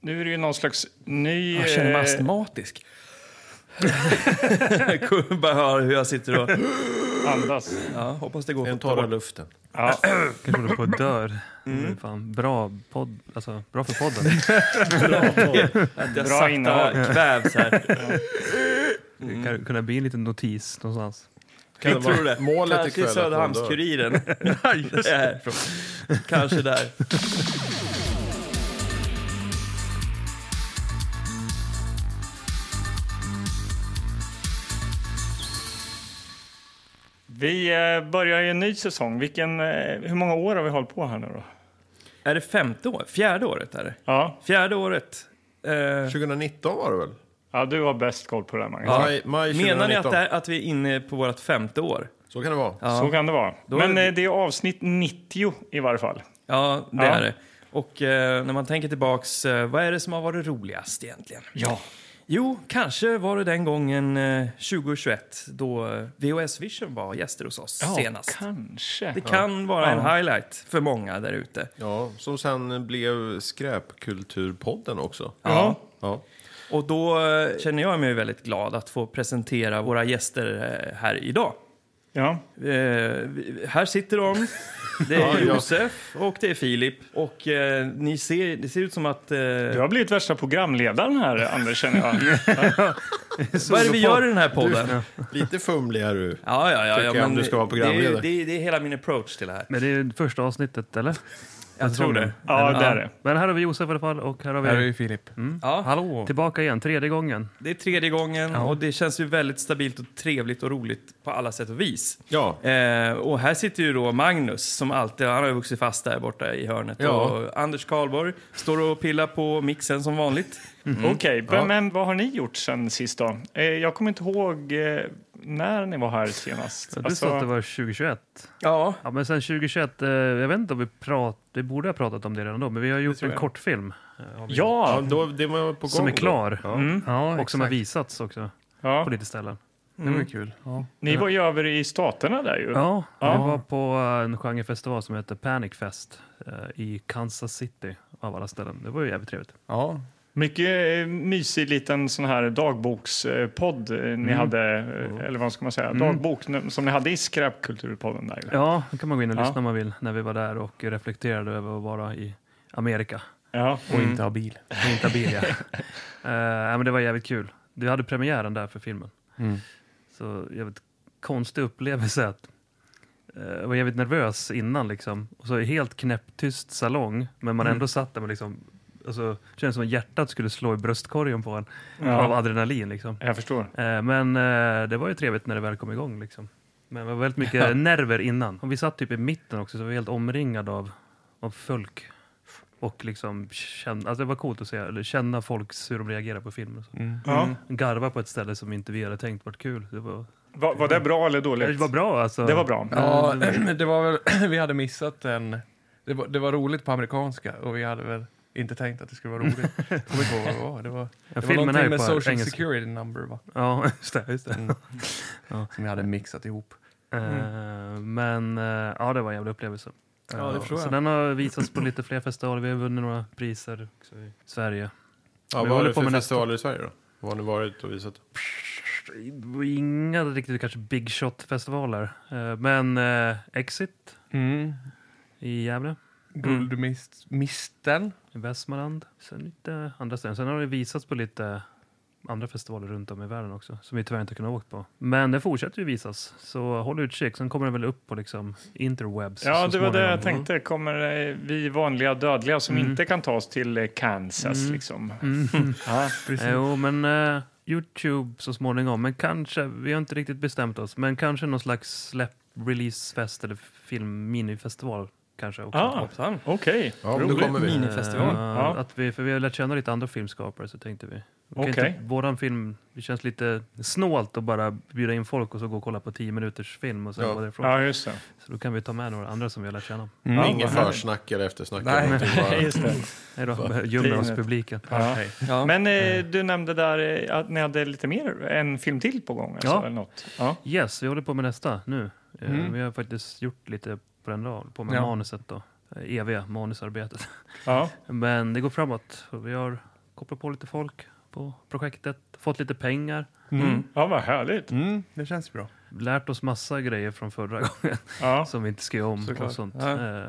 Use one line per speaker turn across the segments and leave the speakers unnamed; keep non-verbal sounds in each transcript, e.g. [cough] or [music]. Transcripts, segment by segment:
Nu är det ju någon slags ny...
Jag känner mig
eh,
astmatisk. [laughs] Bara hör hur jag sitter och...
andas.
Ja, hoppas det går
Den
fort.
torra luften.
Ja.
Kanske håller på att dör. Mm. Fan, bra, podd, alltså, bra för podden.
Att
Bra
jag sakta
innehåll.
kvävs här.
Det kan kunna bli en liten notis någonstans.
[laughs] Kan det
Tror du
vara
det?
målet
Kanske i
ikväll att hon dör?
Söderhamns-Kuriren. [laughs] Det är härifrån. Kanske där.
Vi eh, börjar ju en ny säsong. Vilken, eh, hur många år har vi hållit på här nu då?
Är det femte året? Fjärde året är det.
Ja,
Fjärde året. Eh,
2019 var det väl?
ja du har bäst koll på det här, Magnus.
Ja.
Maj, maj 2019.
menar ni att, det är, att vi är inne på vårt femte år?
Så kan det vara.
Ja.
Så kan det vara.
Då är
Men
det-
eh, det är avsnitt 90 i varje fall.
Ja, det
Ja.
är det. Och eh, när man tänker tillbaks, eh, vad är det som har varit roligast egentligen?
Ja.
Jo, kanske var det den gången eh, 2021 då eh, VHS Vision var gäster hos oss senast.
kanske.
Det kan vara en
Ja.
highlight för många där ute.
Ja, som sen blev Skräpkulturpodden också.
Ja.
Ja.
Och då eh, känner jag mig väldigt glad att få presentera våra gäster eh, här idag.
Ja.
Eh, vi- här sitter de. Det är
[laughs] Ja, ja.
Josef och det är Filip. Och eh, ni ser, det ser ut som att... Eh,
Du har blivit värsta programledaren här, Anders, känner jag.
vad är det vi gör i den här podden?
Lite fumlig är du.
Ja, ja, ja.
Tycker
ja
jag om du ska vara
Det
programledare.
är, det, är, det är hela min approach till det här.
Men det är första avsnittet, eller?
Jag tror det.
Ja, det är det.
Men här har vi Josef i alla fall och här har vi... Mm.
Här är ju Filip.
Ja,
Hallå!
Tillbaka igen, tredje gången.
det är tredje gången och det känns ju väldigt stabilt och trevligt och roligt på alla sätt och vis.
Ja,
Eh, och här sitter ju då Magnus som alltid, han har ju vuxit fast där borta i hörnet.
Ja.
Och Anders Karlborg står och pillar på mixen som vanligt.
Okej, men vad har ni gjort sen sist då? Eh, Jag kommer inte ihåg eh, när ni var här senast.
Så du
Alltså,
sa att det var 2021.
Ja,
Ja, men sen 2021, eh, jag vet inte om vi prat, vi borde ha pratat om det redan då, men vi har gjort
tror
en
jag.
kortfilm. eh, har vi gjort,
ja
Ja,
då, det var på gång.
som är klar.
Då. Ja.
Mm.
Ja, och som har
exakt.
visats också
ja.
på lite ställen.
Det var ju kul. Ja.
Ni var ju över i Staterna där ju.
Ja,
Ja.
vi var på eh, en genrefestival som heter Panic Fest eh, i Kansas City av alla ställen. Det var ju jävligt trevligt.
Ja.
Mycket eh, mysig liten sån här dagbokspodd eh, ni
Mm.
hade, eh, eller vad ska man säga, dagbok n- som ni hade i Skräpkulturpodden där ju.
Ja, då kan man gå in och
Ja.
lyssna om man vill när vi var där och reflekterade över att vara i Amerika
Ja.
Och inte ha bil.
och inte
[laughs]
Abilia. uh, men det var jävligt kul. Du hade premiären där för filmen.
Mm.
Så jävligt konstig upplevelse att eh, jag var jävligt nervös innan liksom. Och så i helt knäpptyst salong, men
Mm.
man ändå satt där med liksom Alltså, det kändes som att hjärtat skulle slå i bröstkorgen på en
Mm. Ja.
av adrenalin. Liksom.
Jag förstår.
Eh, Men eh, det var ju trevligt när det väl kom igång. Liksom. Men det var väldigt
[laughs]
mycket nerver innan. Och vi satt typ i mitten också, så vi var helt omringade av, av folk. Och liksom känna, alltså det var coolt att se, eller känna folks, hur de reagerar på filmen. och Så.
Ja.
Garva på ett ställe som inte vi hade tänkt vart kul. Det var,
Var, var det bra eller dåligt?
det var bra alltså.
Det var bra. Mm.
Ja,
Mm.
[clears throat] det var väl, vi hade missat en... Det var, det var roligt på amerikanska och vi hade väl inte tänkt att det skulle vara roligt.
[laughs]
Jag kommer inte ihåg vad det var. Det var,
Ja,
det var
filmen är
någonting
ju
med
på
social
engelska.
security number va? Mm.
Ja, [laughs] just det. Just det.
Som vi hade mixat ihop. Mm.
Eh, Men eh, ja, det var en jävla upplevelse.
Ja, det
Eh,
förstår
så
jag.
den har visats på lite fler festivaler. Vi har vunnit några priser också i Sverige.
Ja,
Vi
vad är
håller
det
på
för
med nästa.
festivaler i Sverige då? Vad har ni varit och visat?
Inga riktigt kanske big shot-festivaler. Eh, Men eh, Exit
Mm.
i Gävle,
Guldmisten.
i Västmanland. Sen lite andra ställen. Sen har det visats på lite andra festivaler runt om i världen också. Som vi tyvärr inte har kunnat åka på. Men den fortsätter ju visas. Så håll utkik. Sen kommer den väl upp på liksom interwebs.
Ja,
så
det var det
småningom. Mm.
jag tänkte. Kommer eh, vi vanliga dödliga som inte kan ta oss till eh, Kansas liksom? [laughs] Ja.
Eh, Jo, men eh, Youtube så småningom. Men kanske, vi har inte riktigt bestämt oss. Men kanske någon slags släpp releasefest eller film minifestival kanske också.
Ah,
hoppsan.
Okej.
Ja, men då kommer vi.
Minifestival.
Eh,
Ja.
Att vi, för vi har lärt känna lite andra filmskapare så tänkte vi. vi kan
Okej.
inte, våran film, det känns lite snålt att bara bjuda in folk och så gå och kolla på 10 minuters film och sen
Ja.
gå därifrån.
Ja, just det.
Så då kan vi ta med några andra som vi har lärt känna.
Ja,
Ingen
vad härligt.
försnack eller eftersnack.
Nej.
eller någonting, bara-
Nej, just det.
Nej [laughs] då, gömmer oss
Fint.
publiken.
Ja.
Ja.
Men eh, du nämnde där eh, att ni hade lite mer, en film till på gång. Alltså,
Ja.
eller något. Ja.
Yes, vi håller på med nästa nu. Eh,
Mm.
Vi har faktiskt gjort lite på den dag, på med
Ja.
manuset då. Eh, EV, manusarbetet. [laughs]
Ja.
Men det går framåt. Och Vi har kopplat på lite folk på projektet, fått lite pengar,
Mm.
Ja, vad härligt.
Mm, det känns bra.
lärt oss massa grejer från förra [laughs] gången
Ja.
som vi inte ska göra om
Såklart.
och sånt.
Ja.
Eh,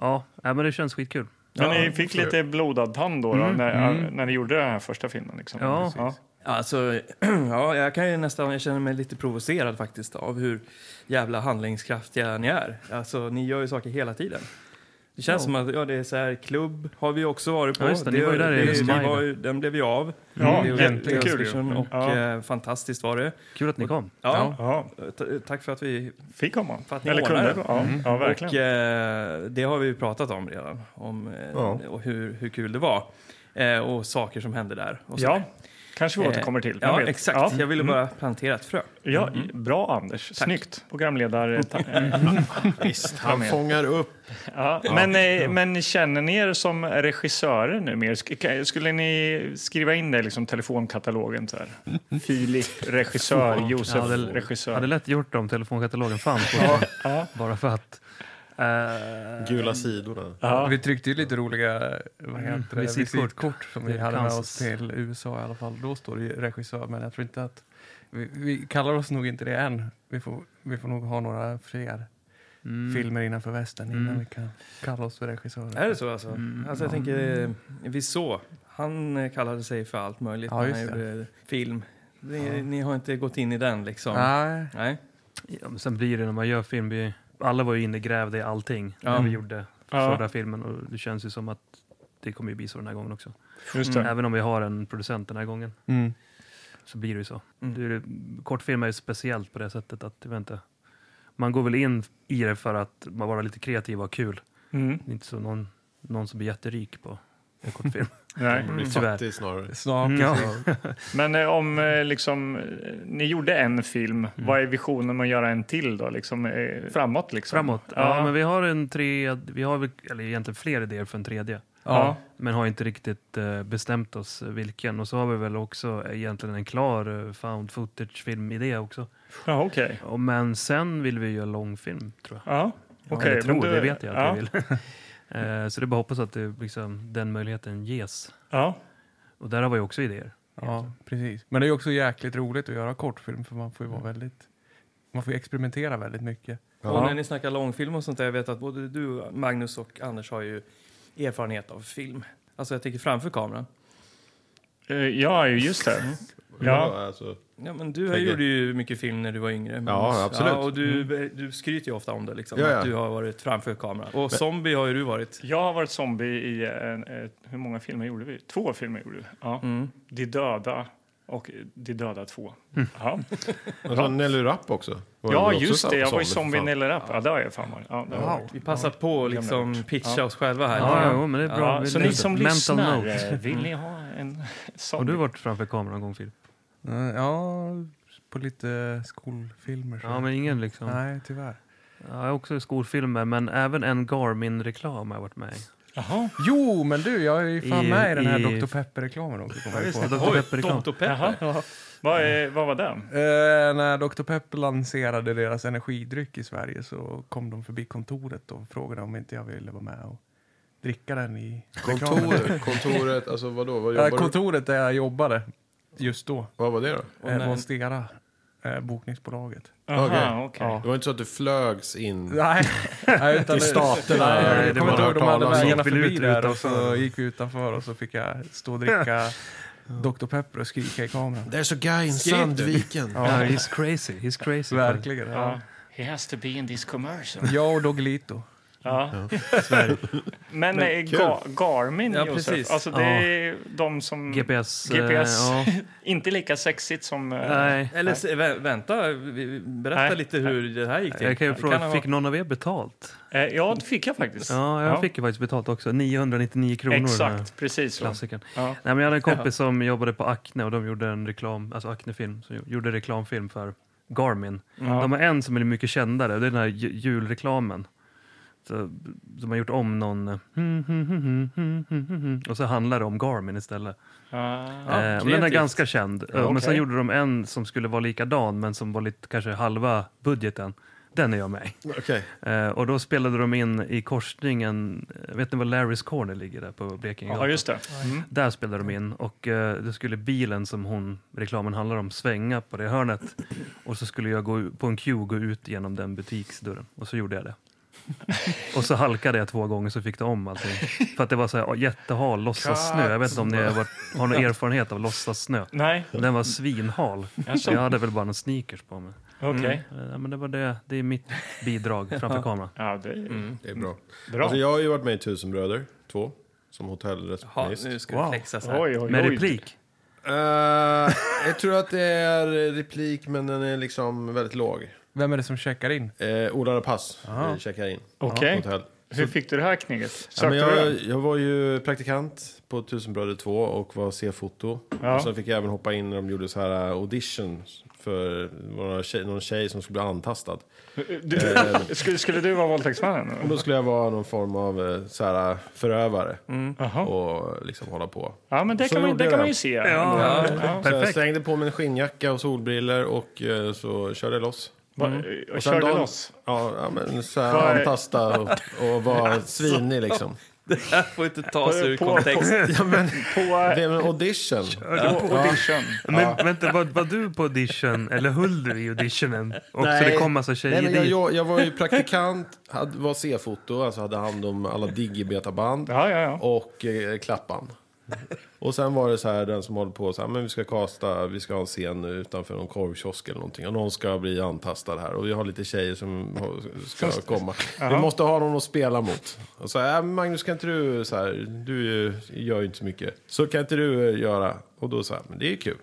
ja, nej, men det känns skitkul.
Men
Ja,
ni fick
så är
lite blodad tand då, då
Mm,
när,
mm.
när ni gjorde den här första filmen? Liksom.
Ja,
ja.
Alltså, [clears throat] ja, jag kan ju nästan, jag känner mig lite provocerad faktiskt av hur jävla handlingskraftiga ni är. Alltså, ni gör ju saker hela tiden. Det känns
Ja.
som att ja, det är så här, klubb har vi också varit på.
Ja, just det, ni var ju där i
det,
maj.
var ju- Den blev ju av.
Ja,
Mm. Det var
jättekul ju.
Eurovision Och
Ja.
eh, fantastiskt var det.
Kul att ni kom.
Ja,
Ja,
t- tack för att vi...
fick komma.
För att ni
Eller
ordnade
kunde.
det.
Ja, ja, verkligen.
Och, eh, det har vi ju pratat om redan, om eh,
Ja.
och hur, hur kul det var. Eh, och saker som hände där. Och så.
ja, kanske vi
Eh,
återkommer till. vem
Ja, Mm.
vet.
exakt.
Ja.
Jag ville
Mm.
bara plantera ett frö.
Ja, bra Anders, snyggt.
[laughs]
Programledare. ta-
Visst,
han
han fångar upp.
Ja, men, eh, men känner ni er som regissörer nu mer? Sk- ka- Skulle ni skriva in det i liksom, telefonkatalogen? Så här? Filip, regissör,
Jag
Josef,
hade, hade
regissör.
lätt gjort det om telefonkatalogen
[laughs]
fanns.
Ja.
Bara för att. Eh,
Gula sidorna.
Ja.
Vi tryckte ju lite roliga vad heter det,
Mm. visitkort.
visitkort som vi
Till
hade med
Kansas.
oss till USA i alla fall. Då står det ju regissör, men jag tror inte att... Vi, vi kallar oss nog inte det än. Vi får, vi får nog ha några fler
mm.
filmer innanför västen
Mm.
innan vi kan kalla oss för regissörer.
Är det så alltså? alltså jag tänker, eh, vi så. Han eh, kallade sig för allt möjligt
Ja,
när
just
han
det.
gjorde film. Ni, ni har inte gått in i den liksom?
Nej.
Nej.
Ja, men sen blir det när man gör film. Vi, alla var ju innegrävda i allting
Ja.
när vi gjorde
Ja.
förra filmen. Och det känns ju som att det kommer ju bli så den här gången också.
Just det.
Även om vi har en producent den här gången
Mm.
så blir det ju så.
Mm.
Det är, ju- kortfilm är ju speciellt på det sättet att jag vet inte, man går väl in i det för att man bara är lite kreativ och ha kul.
Mm.
Det är inte så någon, någon som blir jätterik på en kortfilm.
Nej. Mm.
Blir
tyvärr.
fattig snarare.
Snart.
Ja.
Men eh, om eh, liksom, eh, ni gjorde en film, vad är visionen med att göra en till då? Liksom, eh, framåt liksom?
Framåt. Ja,
Ja.
men vi har en tre, vi har väl- eller egentligen fler idéer för en tredje.
Ja.
Ja.
Men har inte riktigt eh, bestämt oss vilken. Och så har vi väl också egentligen en klar eh, found footage-filmidé också.
Ja, okej.
Och, men sen vill vi göra långfilm tror jag.
Ja, okej.
Eller tror,
men du-
det vet jag att
ja.
vi vill. [laughs] Eh, så det är bara att hoppas att det, liksom, den möjligheten ges.
Ja.
Och där har vi också idéer.
ja, precis. Men det är ju också jäkligt roligt att göra kortfilm för man får ju vara väldigt... Man får ju experimentera väldigt mycket.
Och när
Ja.
ni snackar långfilm och sånt där, jag vet att både du, Magnus och Anders har ju erfarenhet av film. Alltså jag tänker framför kameran.
Eh, ja, just det. Ja.
alltså,
Ja, men du
Tänker-
gjorde ju mycket film när du var yngre. Magnus.
Ja, absolut.
och du, du skryter ju ofta om det, liksom,
Ja, ja.
att du har varit framför kameran. Och zombie har ju du varit.
Jag har varit zombie i, eh, en, ett, hur många filmer gjorde vi? Två filmer gjorde vi. Ja.
Mm.
De döda och De döda två. Ja,
och så Nelly Rapp också. Var
ja
det också
just det. Jag var ju
för
zombie
fan.
Nelly Rapp. Ja, det har jag fan varit. Ja, det har jag varit.
Vi passar på att liksom pitcha oss själva här.
Ja, ja, jo, men det är bra.
Ja,
Vi-
så
det är
ni som
mental
lyssnar,
note.
eh, vill ni ha en
Har du
zombie?
varit framför kameran någon gång, Filip?
Mm, Ja, på lite skolfilmer. så.
Ja, men ingen liksom.
Nej, tyvärr.
Ja, jag har också skolfilmer, men även en Garmin-reklam har jag varit med i.
Jaha.
Jo, men du, jag är ju fan
I-
med i den här
i-
Dr. Pepper-reklamen också. Kommer
Ja,
jag
just
på.
det, Dr.
Oj,
Pepper-reklam.
Dr.
Jaha.
Pepper.
Vad, är, vad var det?
Eh, när Dr. Pepper lanserade deras energidryck i Sverige så kom de förbi kontoret och frågade om inte jag ville vara med och dricka den i reklamen.
Kontoret, kontoret, alltså vadå? Vad
[laughs] Eh,
jobbar du?
kontoret där jag jobbade just då,
Vad var det då?
Och
eh,
när-
Monstera, eh, bokningsbolaget.
Aha, okej.
Ja.
Det var inte så att du flögs
Mm.
in
[laughs]
Nej, nej utan
till staterna?
Nej,
Nej,
jag
det var
kommer inte ihåg, de hade
talas om.
vägarna
Gick väl
förbi
ut
där och
utanför.
så gick vi utanför och så fick jag stå och
[laughs]
dricka Dr. Pepper och skrika i kameran.
There's a guy in Sandviken.
Ja, he's crazy. He's crazy.
Verkligen. Ja.
Ja. He has to be in this commercial.
Typ. Jag och Doglito.
Ja. [laughs] Men, eh, Ga Garmin,
Ja, precis.
Josef, alltså, det
Ja.
är de som...
GPS. eh,
GPS.
ja.
Inte lika sexigt som... eh,
Nej.
Eller s- vä- vänta, vi- vi- berätta
Nej.
lite hur det här gick till.
Jag kan ju
Det
fråga,
ha-
fick någon av er betalt?
Eh, ja, det fick jag faktiskt.
Ja, jag
Ja.
fick ju faktiskt betalt också. 999 kronor. den här
Exakt, precis så.
Klassikern.
Ja.
Nej, men jag hade en kompis som jobbade på Acne och de gjorde en reklam, alltså Acne-film, som gjorde reklamfilm för Garmin. De har en som är mycket kändare, det är den här ju- julreklamen. Så, de har gjort om någon... hmm, eh, Och så handlar det om Garmin istället.
Ja.
Eh, men den är
kreativt.
ganska känd. Eh, Men
okej.
sen gjorde de en som skulle vara likadan, men som var lite kanske halva budgeten. Den är jag med i.
[laughs] Okej.
Eh, och då spelade de in i korsningen, eh, vet ni var Larrys Corner ligger där på Blekinge
Ja, just det. Mm.
Där spelade de in och eh, då skulle bilen som hon, reklamen handlar om svänga på det hörnet och så skulle jag gå u- på en cue gå ut genom den butiksdörren och så gjorde jag det. och så halkade jag två gånger så fick det om allting. För att det var så här, jättehal låtsassnö. Jag vet inte om ni har, varit, har någon erfarenhet av låtsassnö.
Nej,
Den var svinhal.
Jaså?
Jag hade väl bara några sneakers på mig.
okej.
Mm.
Eh, men det var det. Det är mitt bidrag framför kameran.
Ja, det är
Det är bra.
bra.
Mm. Alltså, jag har ju varit med i Tusen bröder, två, som
Jaha,
hotellreceptionist.
nu ska
Wow.
det flexas här. [laughs]
Oj, oj, oj.
Med replik.
Eh, jag tror att det är replik, men den är liksom väldigt låg.
Vem är det som checkar in?
Uh, Odlarna pass
Aha.
eh, checkar in.
Okej.
Hotell.
Hur fick du det här knicket?
Ja,
Sökte
men
du
jag,
den?
jag var ju praktikant på Tusenbröder 2 och var C-foto.
Ja.
Och sen fick jag även hoppa in när de gjorde så här äh, auditions för det var några tjej, någon tjej som skulle bli antastad. Eh.
Du, [laughs] skulle, skulle du vara våldtäktsmannen?
Och
eller?
då skulle jag vara någon form av eh, så här, förövare
Mm. Jaha.
och liksom hålla på.
Ja, men det
Så
kan, man, det
gjorde jag
kan
det.
man ju se.
Ja,
Ja.
Så jag
Perfekt.
slängde på mig en skinnjacka och solbriller och eh, så körde jag loss.
Mm. Och
sen
körde
dagen-
loss.
Ja, ja men så
Vad
här,
är-
antasta och, och vara
[laughs]
svinig liksom.
Det här får inte tas ur
På-
kontext.
Ja, men,
På, eh,
det är en audition.
på audition.
Men vänta, var, var du på audition eller höll du i auditionen? Och så det kom massa tjejer
Nej, men jag,
dit?
jag, jag var ju praktikant, hade, var C-foto, alltså hade hand om alla digibetaband
Ja, ja, ja.
och eh, klappan. Och sen var det så här, den som håller på så här, men vi ska kasta, vi ska ha en scen utanför någon korvkiosk eller någonting. Och någon ska bli antastad här. Och vi har lite tjejer som har- ska komma. Vi måste ha någon att spela mot. Och så här, "Äh, Magnus kan inte du, så här, du eh, gör ju inte så mycket. Så kan inte du eh, göra? Och då så här, men det är ju kul.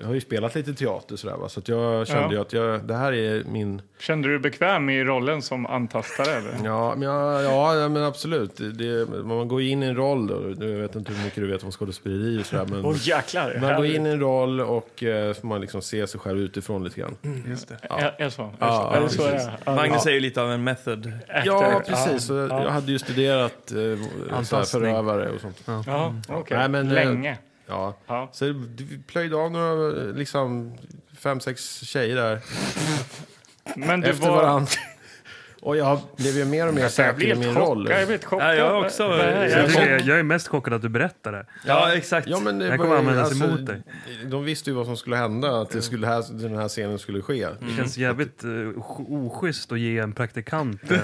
Jag har ju spelat lite teater så där va. Så att jag kände
Ja.
ju att jag, det här är min...
Kände du dig bekväm i rollen som antastare? Eller?
Ja, men, ja, ja, men absolut. Det, man går in i en roll då. Jag vet inte hur mycket du vet om skådespeleri och sådär. Men
Åh jäklar!
man går in i en roll och eh, får man liksom se sig själv utifrån lite grann.
Mm.
Just det.
Ja. Är, är så? Är
Ja,
så? Är det
ja,
så
precis.
det är? Ja.
Magnus är ju lite av en method.
Ja,
Actor.
precis. Så Jag hade ju studerat eh, så här
Anpassning.
förövare och sånt.
Ja, okej.
Nej, men, eh,
Länge.
Ja.
Ja.
Så vi plöjde av några, liksom, fem, sex tjejer där
Men du
efter
var...
varandra. [laughs] Och jag blev ju mer och mer
Jag
säker i
blev
min
helt chockad.
roll.
Jag blev chockad.
Ja, jag också.
Vad är det?
Jag,
Jag-
tycker jag, jag är mest chockad att du berättar det.
Ja, exakt.
Ja, men det
Det
var
här kommer
ju- alltså,
användas emot dig.
De visste ju vad som skulle hända, att det skulle här, den här scenen skulle ske.
Mm.
Det känns jävligt eh, sch- oschysst att ge en
[laughs]
praktikant eh,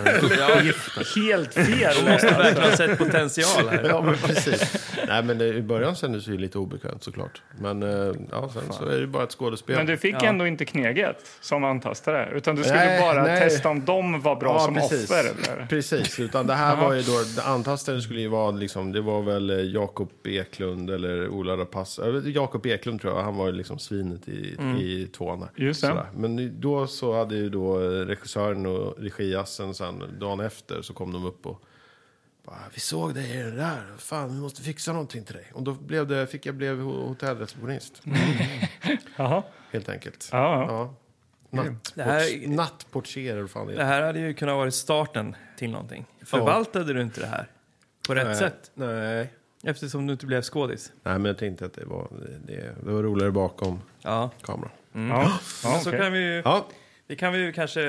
Helt fel!
Du måste verkligen ha sett potential här.
[laughs] Ja, men precis. Nej, men det, i början kändes det ju lite obekvämt såklart. Men eh, ja, sen så är det ju bara ett skådespel.
Men du fick ändå inte kneget som antastare, utan du skulle
Nej,
bara
nej.
testa om de var bra
ja,
som
precis.
offer. Eller?
Precis, utan det här var ju då, det antastaren skulle ju vara liksom, det var väl eh, Jakob Eklund eller Ola Rapace. Eh, Jakob Eklund tror jag, han var ju liksom svinet i, i tvåan där.
Mm. Just det.
Sådär. Men då så hade ju då eh, regissören och regiassen sen, dagen efter så kom de upp och bara, vi såg dig i den där, fan vi måste fixa någonting till dig. Och då blev det, fick jag blev ho- hotellreceptionist,
Jaha.
helt enkelt.
Ja, ja.
Ja. Nattports-
Det här-
Nattportier, eller vad fan det
Det
heter.
här hade ju kunnat vara starten till någonting. Förvaltade du inte det här på rätt
Nej.
sätt?
Nej.
Eftersom du inte blev skådis.
Nej, men jag tänkte att det var, det, det var roligare bakom
Ja,
kameran.
Mm.
ja. ja
så
okej.
kan vi ju...
Ja,
Det kan vi ju kanske...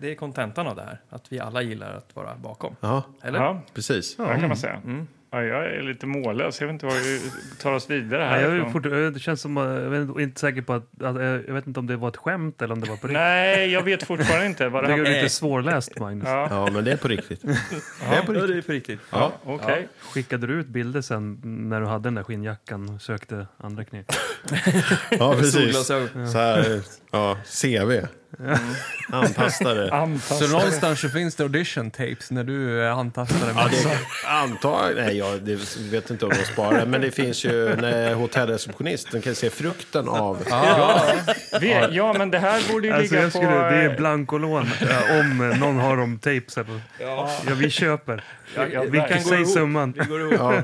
Det är kontentan av det här. Att vi alla gillar att vara bakom.
ja
Eller?
Ja,
precis.
det kan man säga.
Mm.
Ja, jag är lite mållös. Jag vet inte var vi tar oss vidare
Nej,
här.
jag, är fort, jag, det känns som, eh, jag är inte säker på att, att... eh, Jag vet inte om det var ett skämt eller om det var på riktigt.
Nej, jag vet fortfarande inte vad det
Det är
här
ju lite
Nej.
svårläst, Magnus.
Ja.
Ja, men det är på riktigt.
Ja, det är på riktigt.
[laughs] Ja.
Okej.
Skickade du ut bilder sen när du hade den där skinnjackan och sökte andra knep?
Ja, precis.
Solglasögon.
Så här, ja, CV. Antastare.
Antas.
Så någonstans så finns det audition tapes när du eh, antastade mig.
Ja, det, antar, nej, jag det, vet inte om de sparar, men det finns ju när hotellreceptionisten kan se frukten av.
Vi, ja, men det här borde ju
Alltså,
ligga
jag skulle, det
på...
är blankolån eh, om eh, någon har de tapes. Eller, ja. vi köper.
Ja, ja,
vi kan
verkligen.
säga summan. Det
Ja.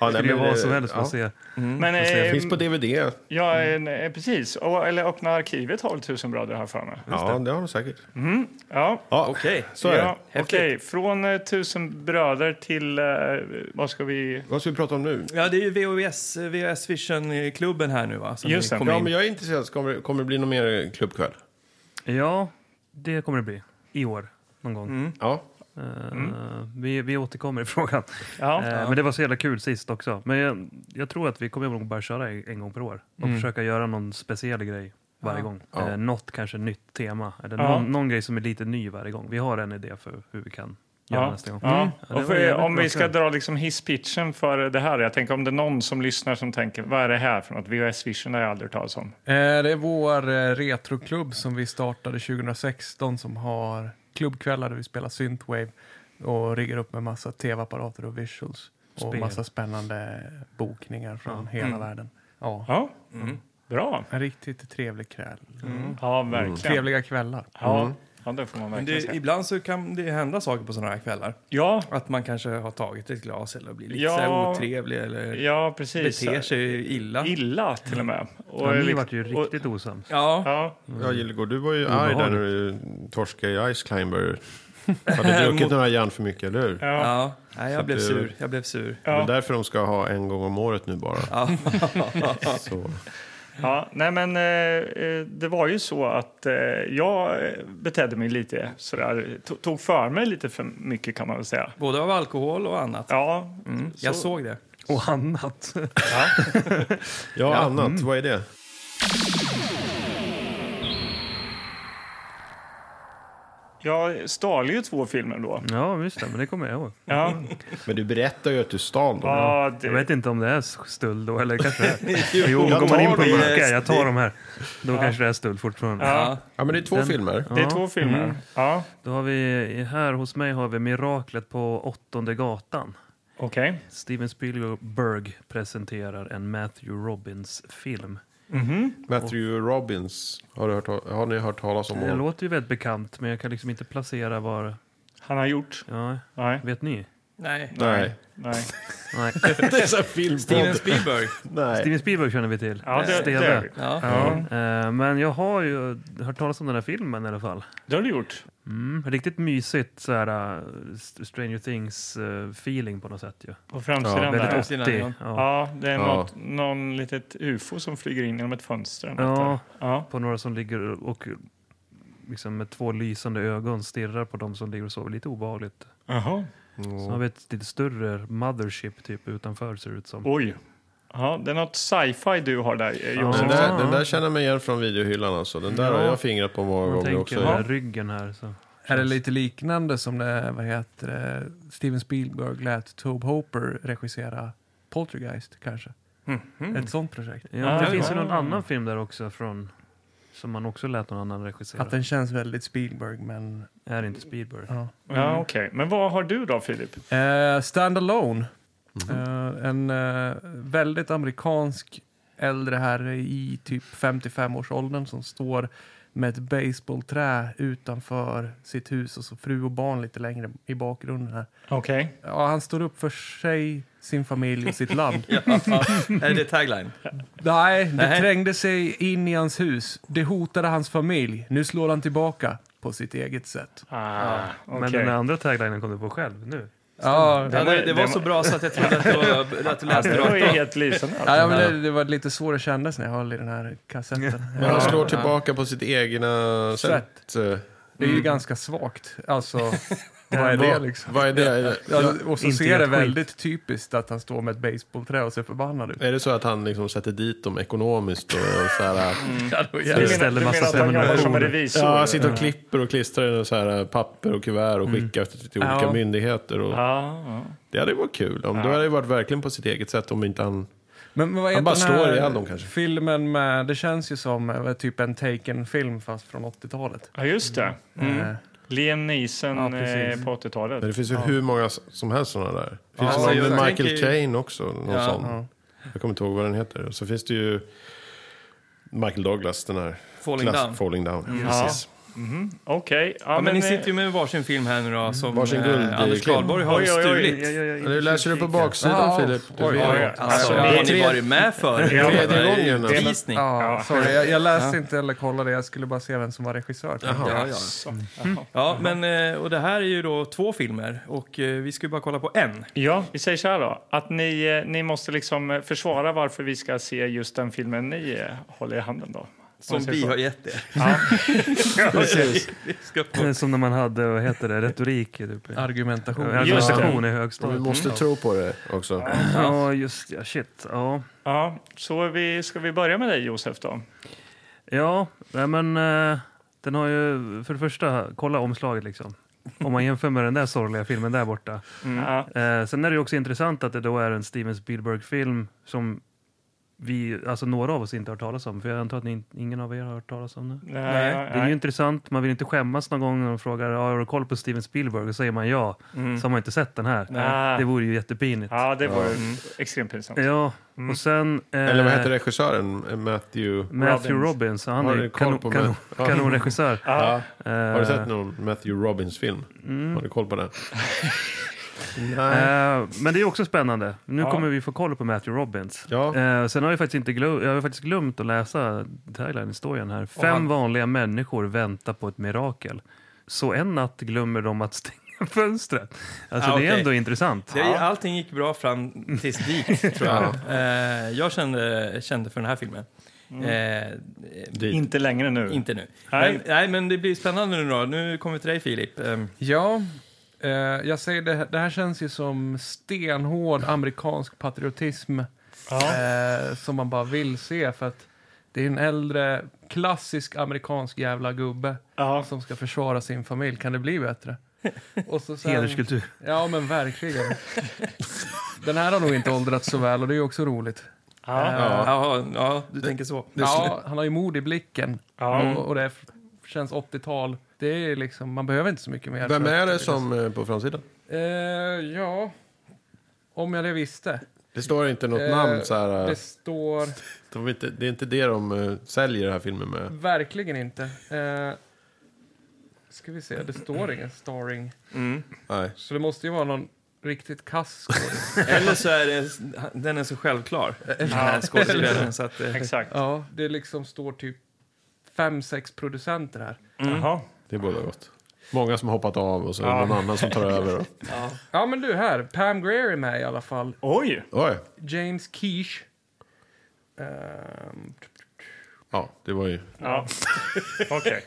Ja, nej,
skulle ju
men,
vara vad som
eh,
helst för
ja.
att se.
Men,
Det
eh,
finns på DVD.
ja,
Mm.
eh, nej, precis. Och, eller öppna arkivet har väl tusenbrader här för mig.
Ja, det har de säkert.
Ja,
Ja,
Okej.
så är det.
ja, okej. Från eh, tusen bröder till... Eh, vad ska vi...
Vad ska vi prata om nu?
Ja, det är ju VHS, eh, VHS Vision-klubben här nu va? Som
Just
vi
det.
kom
Ja,
in.
eh, Mm. men jag är intresserad. Kommer, kommer det bli någon mer klubbkväll?
Ja, det kommer det bli. I år, någon gång.
Mm.
Ja,
Eh, vi, vi återkommer i [laughs] frågan.
Ja.
Eh, Men det var så jävla kul sist också. Men jag, jag tror att vi kommer nog bara köra en en gång per år och
Mm.
försöka göra någon speciell grej varje
Ja.
gång.
Ja.
Eh, något kanske nytt tema, eller
Ja.
någon, någon grej som är lite ny varje gång. Vi har en idé för hur vi kan göra
Ja.
nästa gång. Mm.
Ja.
Ja, det
Och
var
för, eh,
jävligt
om
bra
vi ska
kväll.
dra liksom hisspitchen för det här. Jag tänker om det är någon som lyssnar som tänker, vad är det här för något? VHS Vision har jag aldrig hört talas om.
Eh, Det är vår eh, retroklubb som vi startade 2016 som har klubbkvällar där vi spelar synthwave och riggar upp med massa tv-apparater och visuals. Och
Spel.
massa spännande bokningar från hela
Mm.
världen. Ja.
Ja.
Mm.
Bra.
En riktigt trevlig kväll.
Ja, verkligen.
Trevliga kvällar.
Mm.
Ja. ja, det får man
Men
verkligen
det,
säga.
Eh, ibland så kan det hända saker på sådana här kvällar.
Ja,
Att man kanske har tagit ett glas eller blir lite
Ja.
så här otrevlig eller
ja, precis.
beter sig illa.
Illa till och med. Och
Ja, ni
liksom-
vart ju
och-
riktigt osams.
Ja,
Ja,
ja Gillegård, Mm. du var ju arg där när du eh, torskade i Ice [laughs] Climber. Hade druckit några järn för mycket, eller hur?
ja.
ja. Nej,
Så
jag blev
det-
sur. Jag blev sur.
Det
Ja.
är därför de ska ha en gång om året nu bara.
Ja.
[laughs] Så.
Ja, nej men eh, eh, det var ju så att eh, jag eh, betedde mig lite sådär, to- tog för mig lite för mycket kan man väl säga.
Både av alkohol och annat.
Ja,
Mm. Jag
så-
såg det.
Och annat.
Ja, Mm. annat. Vad är det?
jag stal ju två filmer då.
Ja, just det. Men det kommer jag ihåg. [laughs]
Ja,
Men du berättar ju att du stal dem.
ja
Jag
det,
vet inte om det är stöld då, eller kanske
[laughs]
det är. Jo,
jag
går man in på
tar det.
Ica, jag tar de här. Då kanske det är stöld fortfarande.
ja,
Ja, men det är två
Den-
filmer.
det är
Ja. Mm.
två filmer. Ja,
Då har vi, här hos mig har vi Miraklet på åttonde gatan.
okej.
Steven Spielberg presenterar en Matthew Robbins-film.
Mhm.
Matthew Robbins, har, du hört, har ni hört talas om
Det
honom?
låter ju väldigt bekant, men jag kan liksom inte placera var...
Han har gjort.
Ja,
Nej.
vet ni?
Nej.
Nej.
Nej.
Nej.
det är så här film
Steven Spielberg.
Nej.
Steven Spielberg känner vi till.
Ja, det, det,
Steve.
det,
Ja. [laughs]
ja,
Eh, Men jag har ju hört talas om den här filmen i alla fall.
det har du gjort.
Mm, riktigt mysigt så här, eh, St- Stranger Things-feeling på något sätt ju.
På framsidan
Ja,
där.
Väldigt
Framsidan,
80. Ja.
Ja, det är
Ja.
något, någon litet ufo som flyger in genom ett fönster. eller något
Ja,
där. ja.
på några som ligger och liksom med två lysande ögon stirrar på de som ligger och sover. Lite obehagligt.
Jaha.
Så
Mm.
har vi ett lite större mothership typ utanför ser det ut som.
Oj. Ja, det är något sci-fi du har där, eh, Jonsson.
Den
Ja.
där, den där känner man igen från videohyllan alltså. Den där
Ja.
har jag fingrat på många
Man
gånger
tänker
också.
med ryggen här. Så.
Här är lite liknande som det, vad heter det, Steven Spielberg lät Tobe Hopper regissera Poltergeist kanske.
Mm.
Mm.
Ett sånt projekt.
Ja, det
Ah,
finns ju
ja.
någon annan film där också från som man också lät någon annan regissera.
Att den känns väldigt Spielberg men
Är det inte Spielberg?
ja.
Ja, okej. Men vad har du då, Filip?
Eh, Stand Alone. Eh, en eh, väldigt amerikansk äldre herre i typ 55-årsåldern som står med ett baseballträ utanför sitt hus och så fru och barn lite längre i bakgrunden här.
Okej.
Ja, han står upp för sig, sin familj och sitt land.
Är det tagline?
Nej, det
Nej.
trängde sig in i hans hus. Det hotade hans familj. Nu slår han tillbaka på sitt eget sätt.
Ah, okej.
Men den andra taglinen kom du på själv nu.
Ja,
Ja, det, det var så bra så att jag trodde att
[laughs]
du, var- att du läste
Det var
rakt
ju
av.
helt lysande. alltså.
ja, men det, det var lite så det kändes när jag höll i den här kassetten.
Men han slår tillbaka på sitt egna
Sätt.
sätt. Eh,
Det är ju ganska svagt. Alltså, vad är det
vad-
liksom?
Vad är det? Är det,
Ja, och så
inte
ser det
helt skit.
väldigt typiskt att han står med ett baseballträ och ser förbannad ut.
är det så att han liksom sätter dit dem ekonomiskt? Och så här, eh,
Du menar-
ställer
du menar
massa
att han jobbar som
prenumerationer.
revisor?
ja, Mm. han sitter och klipper och klistrar i så här eh, papper och kuvert och skickar till till olika
Ja.
myndigheter. Och,
Ja, ja.
Det hade ju varit kul. Om, Då hade det varit verkligen på sitt eget sätt om inte han...
Men, men vad
Han bara
heter den här
slår ihjäl dem kanske.
Filmen med, det känns ju som eh, typ en taken-film fast från 80-talet.
ja, just det. Mm.
Eh,
Liam Neeson
Ja, precis.
eh, på 80-talet.
Men det finns ju hur många som helst sådana där. Det finns
Ja,
någon med
jag
Michael
tänker ju-
Caine också. Någon
Ja,
sån.
ja.
Jag kommer inte ihåg vad den heter. Och så finns det ju Michael Douglas, den här...
Falling
klass-
down.
Falling down. Mm.
Ja.
Precis.
Mhm. Okej. Ja,
Ja, men ni
eh,
sitter ju med varsin film här nu
Mm.
då som
Varsin guld-
eh, Anders Karlborg har
oj, oj, oj,
stulit.
oj, oj, oj.
Men Du läser du på baksidan,
Ja.
Filip. Du
Oj,
vet.
oj, oj.
Alltså,
Ja,
har ni
tre-
varit med för?
Ja,
tredje gången.
Visning.
Ja, sorry. Jag, jag läste inte eller kollade, jag skulle bara se vem som var regissör.
Ja, Mm. ja.
Så.
Ja, men, eh, och det här är ju då två filmer och eh, vi ska ju bara kolla på en.
Ja, vi säger så här då. Att ni, eh, ni måste liksom eh, försvara varför vi ska se just den filmen ni eh, håller i handen då. Om
Som
man säger
vi
så.
har gett det. [laughs]
Ja.
Precis.
Vi ska få-
[laughs] Som när man hade, vad heter det, retorik. Typ.
Argumentation.
Ja,
Just det.
Argumentation i
Och vi
högstadiet. Mm.
måste tro på det också.
Ja, just ja, shit. Ja,
Ja, så är vi, ska vi börja med dig Josef då?
ja nej, men eh, den har ju, för det första, kolla omslaget liksom. Om man jämför med den där sorgliga filmen där borta.
Ja.
Eh, sen är det ju också intressant att det då är en Steven Spielberg-film som vi, alltså några av oss inte har hört talas om. För jag antar att ni, in- ingen av er har hört talas om det.
Nej,
Det är ju intressant, man vill inte skämmas någon gång när de frågar "Ja, har du koll på Steven Spielberg? Och säger man ja,
Mm.
så har man inte sett den här.
Nej.
Det vore ju jättepinigt.
Ja, det var mm. extremt pinsamt.
Ja,
Mm.
och sen... eh,
Eller vad heter regissören? Matthew...
Matthew
Robbins.
Robbins. han
Har
är
du
ju
koll
kanon,
på
kanon,
Matt- [laughs] Ja.
kanonregissör. Eh.
Ja.
Ja. Har du sett någon Matthew Robbins film?
Mm.
Har du koll på den? Nej.
Eh, men det är också spännande. Nu
Ja.
kommer vi få koll på Matthew Robbins.
Ja.
Eh, sen har jag faktiskt, inte glö- jag har faktiskt glömt att läsa tagline-historien här. Fem
han-
vanliga människor väntar på ett mirakel. Så en natt glömmer de att stänga [laughs] fönstret. Alltså
Ah,
det är
okej.
ändå intressant.
Det, allting gick bra fram tills [laughs] dit, tror jag. Eh, jag kände, kände för den här filmen. Eh, eh,
Dit.
Inte längre nu.
Inte nu.
Mm. Nej.
Men, nej, men det blir spännande nu då. Nu kommer vi till dig, Filip. Ehm,
Ja, eh, jag säger det, här- det här känns ju som stenhård amerikansk patriotism
Ja.
eh, som man bara vill se för att det är en äldre klassisk amerikansk jävla gubbe
Ja.
som ska försvara sin familj. Kan det
[laughs]
bli bättre? Och så sen,
Hederskultur.
ja men verkligen. Den här har nog inte åldrats så väl och det är ju också roligt.
Ja.
eh, jaha, ja, du tänker så.
Ja, han har ju mod i blicken
Ja.
och, och det är, känns 80-tal. Det är liksom, man behöver inte så mycket mer.
Vem
för
är
att-
det som eh, på framsidan?
Eh, ja, om jag det visste.
Det står inte något
Eh,
namn så här. eh,
Det står
De vill inte, det är inte det de eh, säljer den här filmen med.
verkligen inte. Eh, ska vi se, det står ingen starring.
Nej.
Så det måste ju vara någon riktigt kass skådis.
Eller så är det, den är så självklar, den här skådespelaren. Så att, eh,
Exakt.
Ja, det liksom står typ fem, sex producenter här.
Jaha.
Det borde gott. Många som har hoppat av och så är det
Ja.
någon annan som
[laughs]
tar över. Och,
Ja, men du här. Pam Greer är med i alla fall.
Oj!
oj!
James Keish. Ehm,
Ja, det var ju...
Ja. Okej.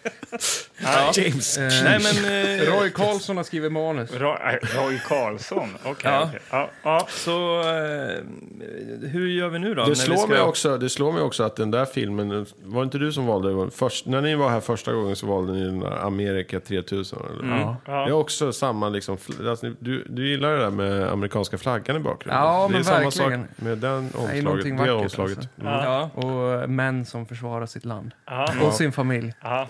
James!
eh,
nej, men... eh,
Roy Carlson har skrivit manus.
Roy, äh, Roy Karlsson. Okej.
Ja.
okej. Ja. Ja. så...
Så eh, hur gör vi nu då? när vi
Det slår,
ska-
mig också, det slår mig också att den där filmen, var det inte du som valde den? Först, när ni var här första gången så valde ni den där Amerika 3000. Eller?
Ja.
Det är också samma liksom, fl- alltså, du, du gillar det där med amerikanska flaggan i bakgrunden.
Ja,
det
men
är samma
verkligen.
sak med den omslaget. Det är
någonting
det
vackert,
omslaget.
alltså.
Ja.
Och eh, män som försvarar sitt land.
Ja.
Och sin familj.
Ja.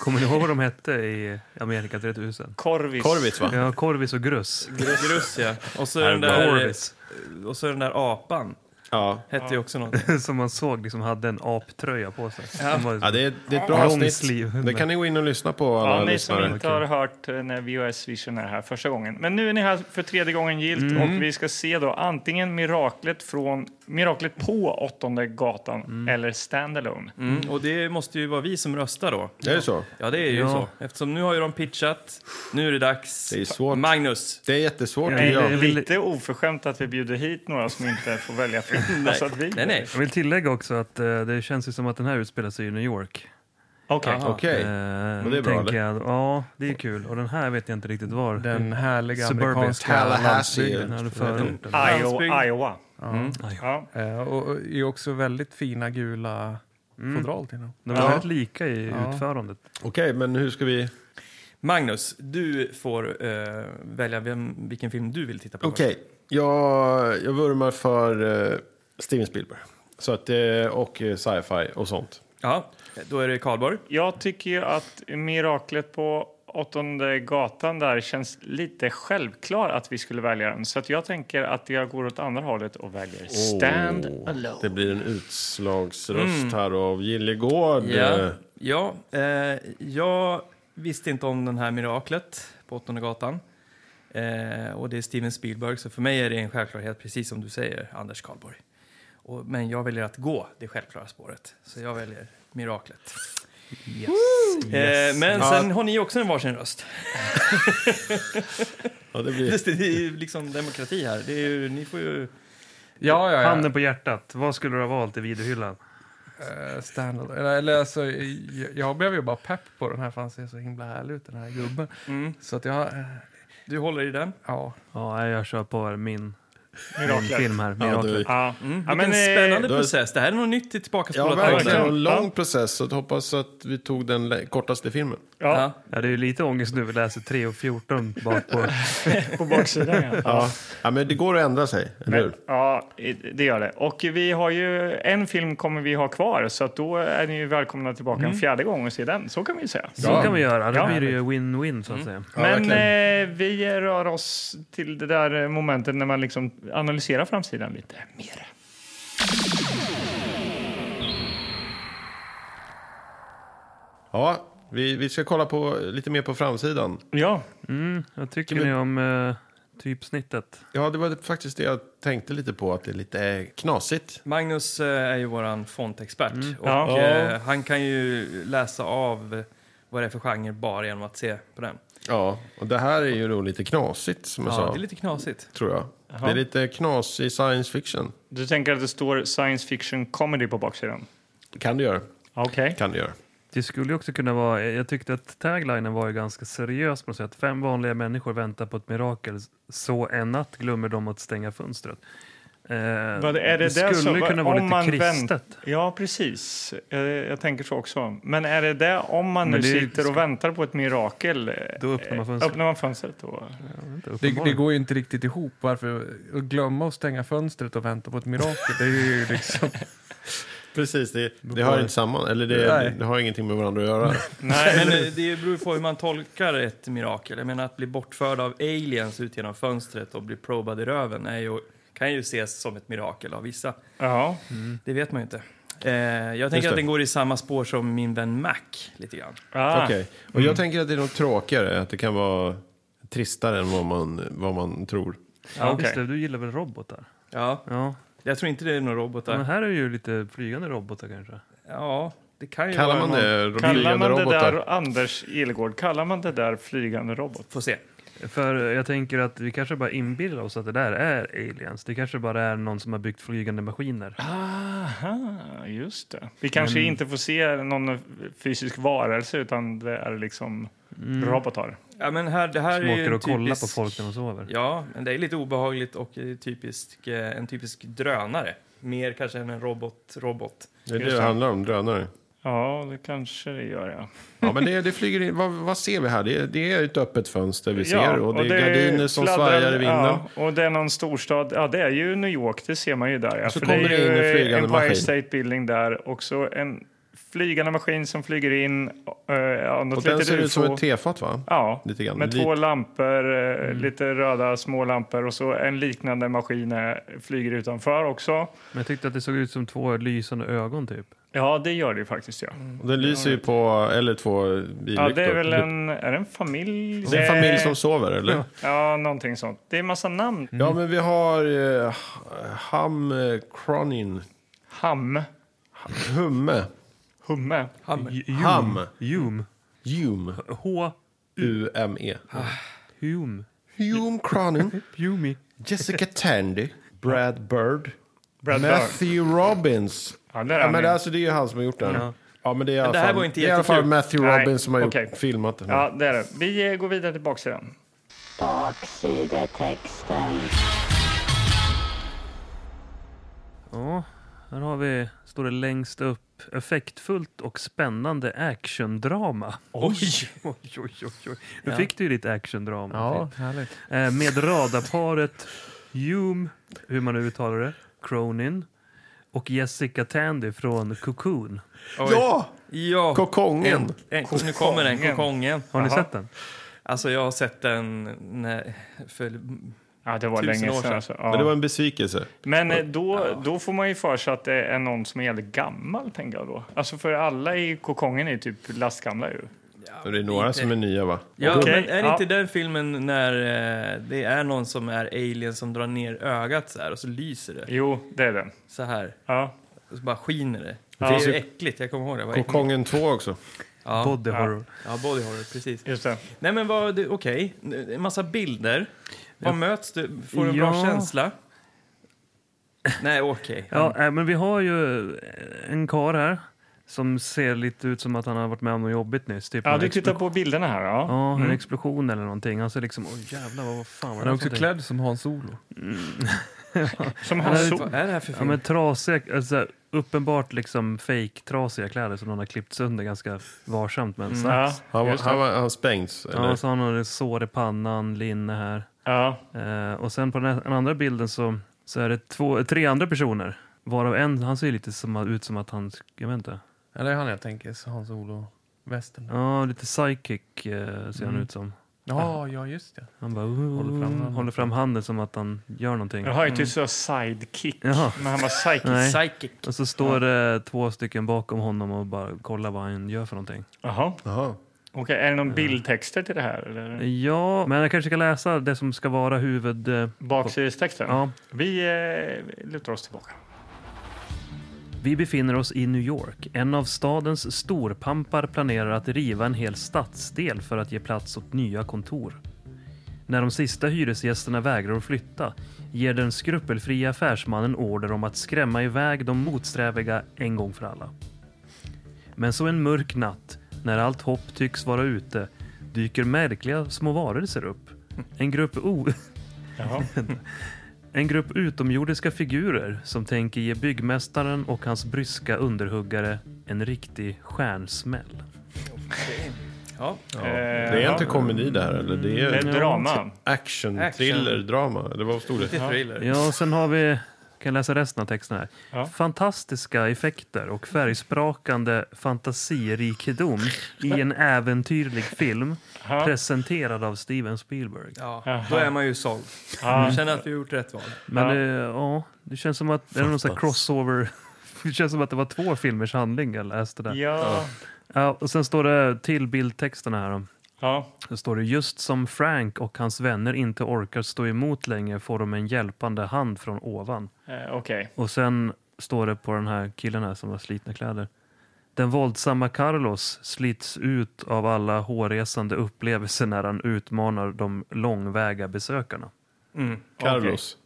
Kommer ni ihåg vad de hette i Amerika 3000?
Korvis.
Korvitz va?
Ja, Korvis och Gruss.
Grus, ja. Och så, är den där, eh, och så är den där apan.
Ja.
Hette ju också något.
[laughs] Som man såg liksom hade en aptröja på sig. De var-
Ja, det, är, det är ett bra
Lång
avsnitt.
sleeve.
Det kan ni gå in och lyssna på alla
Ja, ni som
lyssnare.
inte har hört eh, när VHS Vision är här första gången. Men nu är ni här för tredje gången gilt och vi ska se då antingen Miraklet, från, miraklet på Åttonde gatan eller Standalone.
Mm. Och det måste ju vara vi som röstar då.
Är det så?
Ja, det är ju
Ja.
så. Eftersom nu har ju de pitchat. Nu är det dags.
Det är svårt.
Magnus.
Det är jättesvårt
Ja,
tycker
Det
det
jag.
är
Jag vill-
lite oförskämt att vi bjuder hit några som inte får välja film. alltså att vi...
Nej, nej.
Jag vill tillägga också att eh, det känns ju som att den här utspelar sig i New York.
Okej.
Aha.
Okej.
Eh,
Men det är bra,
tänker jag. Ja, det är kul. Och den här vet jag inte riktigt var.
Den härliga
Suburbia.
amerikanska
Tallahassee.
Den hade förorten.
Landsbygd.
Iowa. Iowa. Mm. Ja.
Eh, och och är också väldigt fina gula fodral till den.
De är
Ja.
väldigt lika i
Ja.
utförandet.
Okej, men hur ska vi...
Magnus, du får eh, välja vem, vilken film du vill titta på.
Okej, jag, jag vurmar för eh, Steven Spielberg. Så att, eh, och eh, sci-fi och sånt.
Ja, då är det Karlborg.
Jag tycker ju att miraklet på åttonde gatan där känns lite självklar att vi skulle välja den. Så att jag tänker att jag går åt andra hållet och väljer Stand
Åh,
Alone.
Det blir en utslagsröst här av Gillegård.
Ja,
Eh,
ja eh, jag visste inte om den här miraklet på Åttonde gatan. Eh, och det är Steven Spielberg, så för mig är det en självklarhet, precis som du säger, Anders Karlborg. Och, men jag väljer att gå det självklara spåret, så jag väljer miraklet. Eh, men
Ja.
sen har ni också en varsin röst.
Ja, det blir...
[laughs] Det är ju liksom demokrati här. Det är ju, ni får ju...
Ja, ja, ja.
Handen på hjärtat, vad skulle du ha valt i videohyllan?
eh, standalone. Eller, eller alltså, jag, jag blev ju bara pepp på den här för han ser så himla härlig ut den här gubben. Så att jag, eh,
Du håller i den?
ja.
Ja, jag kör på min, min
Miraklet.
film här.
Ja,
Miraklet.
du,
Ja. Ja,
Vilken
men, eh,
spännande
då-
process. Det här är något nytt i
ja,
tillbakaspolat.
verkligen.
verkligen.
En lång process. Så jag hoppas att vi tog den lä- kortaste filmen.
eh, Ja,
Ja, det är ju lite ångest nu. Vi läser 3 och 14 bak på.
på baksidan ja.
Ja. ja, men det går att ändra sig, eller
Men,
hur?
ja, det gör det. Och vi har ju, en film kommer vi ha kvar, så att då är ni ju välkomna tillbaka en fjärde gång och se den. Så kan vi ju säga.
Så kan vi göra. Då
Mm. Ja.
blir det ju win-win så
Mm.
att säga.
Ja,
Men
verkligen.
eh, vi rör oss till det där eh, momentet när man liksom analyserar framsidan lite mer.
ja, vi, vi ska kolla på lite mer på framsidan.
Ja,
Mm, vad tycker
Kan vi-
ni om eh, typsnittet?
Ja, det var faktiskt det jag tänkte lite på, att det är lite knasigt.
Magnus eh, är ju våran fontexpert. Och
Ja.
eh, han kan ju läsa av eh, vad det är för genre bara genom att se på den.
Ja, och det här är ju då lite knasigt, som jag
Ja,
sa,
det är lite knasigt.
tror jag. Det är lite knasig science fiction.
du tänker att det står science fiction comedy på baksidan?
Kan det göra.
Okej.
Kan det göra.
Det skulle ju också kunna vara, jag tyckte att taglinen var ju ganska seriös på något sätt. Fem vanliga människor väntar på ett mirakel, så en natt glömmer de att stänga fönstret. Eh,
Vad är det där
skulle
som-
kunna vara
om
lite
man
kristet.
Ja, precis. Eh, Jag tänker så också. Men är det det om man nu
Men det är-
sitter och väntar på ett mirakel? eh,
Då öppnar man
eh,
fönstret.
Öppnar man fönstret då?
Det,
Uppenbarligen.
det går ju inte riktigt ihop. Varför att glömma att stänga fönstret och vänta på ett mirakel? Det är ju [laughs] liksom...
Precis, det, det har inte samman, eller det,
Nej.
det, det har ingenting med varandra att göra.
Nej,
Men eh, det beror ju på hur man tolkar ett mirakel. Jag menar att bli bortförd av aliens ut genom fönstret och bli probad i röven är ju, kan ju ses som ett mirakel av vissa.
ja.
Det vet man ju inte. Eh, jag
Just
tänker
det.
att den går i samma spår som min vän Mac lite grann.
[laughs] Ah.
Okej. Och jag tänker att det är något tråkigare, att det kan vara tristare än vad man, vad man tror.
Ja,
okej.
just det, du gillar väl robotar?
Ja,
Ja. Mm.
jag tror inte det är några robotar.
Men här är ju lite flygande robotar kanske.
Ja, det kan ju
Kallar
vara
man
någon-
det
Kallar
flygande
man det
robotar?
där, Anders Ilgård, kallar man det där flygande robot?
Får se.
För jag tänker att vi kanske bara inbillar oss att det där är aliens. Det kanske bara är någon som har byggt flygande maskiner.
Aha, Ah, just det. Vi kanske inte får se någon fysisk varelse utan det är liksom
Mm.
robotar.
Ja, men här, det här
Som
är ju
åker
en
och kollar på
typisk...
folk när de sover.
Ja, men det är lite obehagligt och eh, typisk, eh, en typisk drönare. Mer kanske än en robot, robot.
Det är det det handlar om, drönare.
Ja, det kanske det gör, ja.
Ja, men det, det flyger in. Vad, vad ser vi här? Det, det är ett öppet fönster vi ser och det är gardiner som
fladdrar-
svajar i vinden.
Ja, och det är någon storstad. Ja, det är ju New York, det ser man ju där. Ja.
Så
För
kommer
det
det in en
är ju
flygande
Empire
maskin.
State Building där och så en flygande maskin som flyger in. eh, ja, något
Och den
litet
ser ut som
UFO.
ett tefat, va?
Ja,
Lite grann.
med
Lite-
två lampor, eh,
Mm.
lite röda små lampor och så en liknande maskin eh, flyger utanför också.
Men jag tyckte att det såg ut som två lysande ögon typ.
Ja, det gör det ju faktiskt. Ja.
Och den lyser ju på, eller två billyktor.
Ja, det är väl en, är det en familj?
Det är en familj som
Eh,
sover, eller?
Ja, någonting sånt. Det är en massa namn.
Ja, men vi har eh, Ham eh, Cronin.
Ham,
Humme.
Humme.
Ham.
Hume.
Hume.
H.
U-M-E.
Hume.
Hume Cronin.
Humi.
Jessica Tandy. Brad Bird.
Brad Bird.
Matthew Robbins.
Ja, där är
Ja,
han
men
ju.
alltså, det är ju han som har gjort den. Ja. men det är, i alla
det här
fall-
var inte
det är i alla fall
jättekul.
Matthew
Nej,
Robbins som har
okej.
gjort, filmat den.
Ja, det är det. Vi eh, går vidare till baksidan.
Baksidetexten.
Ja, här har vi, står det längst upp, effektfullt och spännande actiondrama.
Oj!
Oj, oj, oj, oj. Nu fick du ju ditt actiondrama.
Ja, härligt.
Eh, Med radarparet Hume, hur man nu uttalar det, Cronin och Jessica Tandy från Cocoon.
Oj.
ja!
Ja!
Kokongen!
En- Nu kommer den, kokongen.
Har ni
Jaha.
sett den?
Alltså jag har sett den när, för
Ja, det var
Tusen
länge
år
sedan.
sedan.
Alltså. Ja.
Men det var en besvikelse.
Men eh, då, då får man ju för sig att det är någon som är jävligt gammal, tänker jag då. Alltså för alla i kokongen är ju typ lastgamla ju.
Och det är några
inte-
som är nya, va?
Ja,
Okej,
men är det
ja.
inte den filmen när eh, det är någon som är alien som drar ner ögat så här och så lyser det
Jo, det är den.
så här
Ja.
och så bara skiner det?
Ja.
Det är ju äckligt, jag kommer ihåg det. Vad äckligt.
Kokongen 2 också.
Ja,
Body horror.
ja body horror, precis.
Just det.
Nej men vad, det- okej, en massa bilder. Vad möts du? Får du en bra
Ja.
känsla? Nej, okej.
Ja, äh, men vi har ju eh, en kar här som ser lite ut som att han har varit med om något jobbigt nyss. Typ
Ja,
en
du
explo-
tittar på bilderna här. Ja.
Ja, en explosion eller någonting. Han ser liksom, åh jävlar vad fan var det
Mm. Han är
här för
också
någonting?"
klädd som Hans Solo.
Som
Ja,
han
det är
såg.
Vad är det här för
Ja,
film?
men trasiga, alltså, uppenbart liksom fake trasiga kläder som någon har klippt sönder ganska varsamt
Mm.
med en
Ja,
sax.
Han, var,
just det.
han, var, han spängs, eller?
Ja, så har han några sår i pannan, linne här.
ja.
Eh, och sen på den, här, den andra bilden så, så är det två, tre andra personer. Varav en, han ser ju lite som, ut som att han, jag vet inte.
Ja, det är han jag tänker, Hans Solo-västen.
Ja, lite psychic eh, ser han
Mm.
ut som.
Ja, ja, just det.
Han bara "Ooh",
Håller fram handen.
håller fram handen som att han gör någonting.
Jag har ju typ så sidekick.
Jaha.
Men han var sidekick.
Nej.
Psychic.
Och så står det två stycken bakom honom och bara kollar vad han gör för någonting.
Jaha.
Jaha.
Okej, är det någon bildtexter till det här? Eller?
Ja, men jag kanske ska läsa det som ska vara huvud... eh,
Baksidestexten?
Ja.
Vi eh, lutar oss tillbaka.
Vi befinner oss i New York. En av stadens storpampar planerar att riva en hel stadsdel för att ge plats åt nya kontor. När de sista hyresgästerna vägrar att flytta ger den skrupelfria affärsmannen order om att skrämma iväg de motsträviga en gång för alla. Men så en mörk natt, när allt hopp tycks vara ute, dyker märkliga små varelser upp. En grupp o...
Jaha.
En grupp utomjordiska figurer som tänker ge byggmästaren och hans bryska underhuggare en riktig stjärnsmäll.
Ja.
Ja.
Eh,
det är
ja.
inte komedi där, eller? Det
Det är
är
ett drama.
action,
Action.
thriller, drama. Eller vad stod det?
Lite thriller.
Ja, och sen har vi... Kan jag läsa resten av texten här?
Ja.
Fantastiska effekter och färgsprakande fantasirikedom i en äventyrlig film
Ja.
presenterad av Steven Spielberg.
Ja, då är man ju såld.
Ja.
Jag känner att vi har gjort rätt val.
Men
Ja.
ja, det, ja, det känns som att... Är det någon sån här crossover? [laughs] Det känns som att det var två filmers handling jag läste där.
Ja.
Ja, och sen står det till bildtexterna här. Om.
Ja.
Då står det just som Frank och hans vänner inte orkar stå emot längre får de en hjälpande hand från ovan.
Eh, Okej.
Och sen står det på den här killen här som har slitna kläder. Den våldsamma Carlos slits ut av alla hårresande upplevelser när han utmanar de långväga besökarna.
Mm.
Carlos.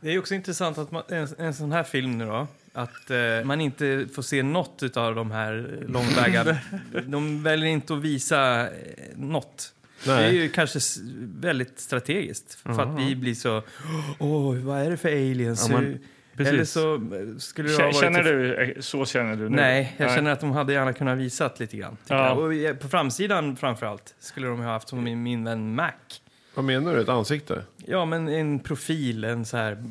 Det är också intressant att man, en, en sån här film nu då, att eh, man inte får se något av de här långväga. [laughs] de väljer inte att visa eh, något. Det är
Nej.
ju kanske s- väldigt strategiskt för att vi blir så, åh, vad är det för aliens?
Ja, men-
Hur-
precis.
Eller så eh, skulle det ha
K-
varit...
Känner du, eh, så känner du nu?
Nej, jag känner att de hade gärna kunnat visat lite grann. tycker
Ja.
jag. Och eh, på framsidan framför allt skulle de ha haft som min, min vän Mac.
Vad menar du? Ett ansikte?
Ja, men en profil, en så här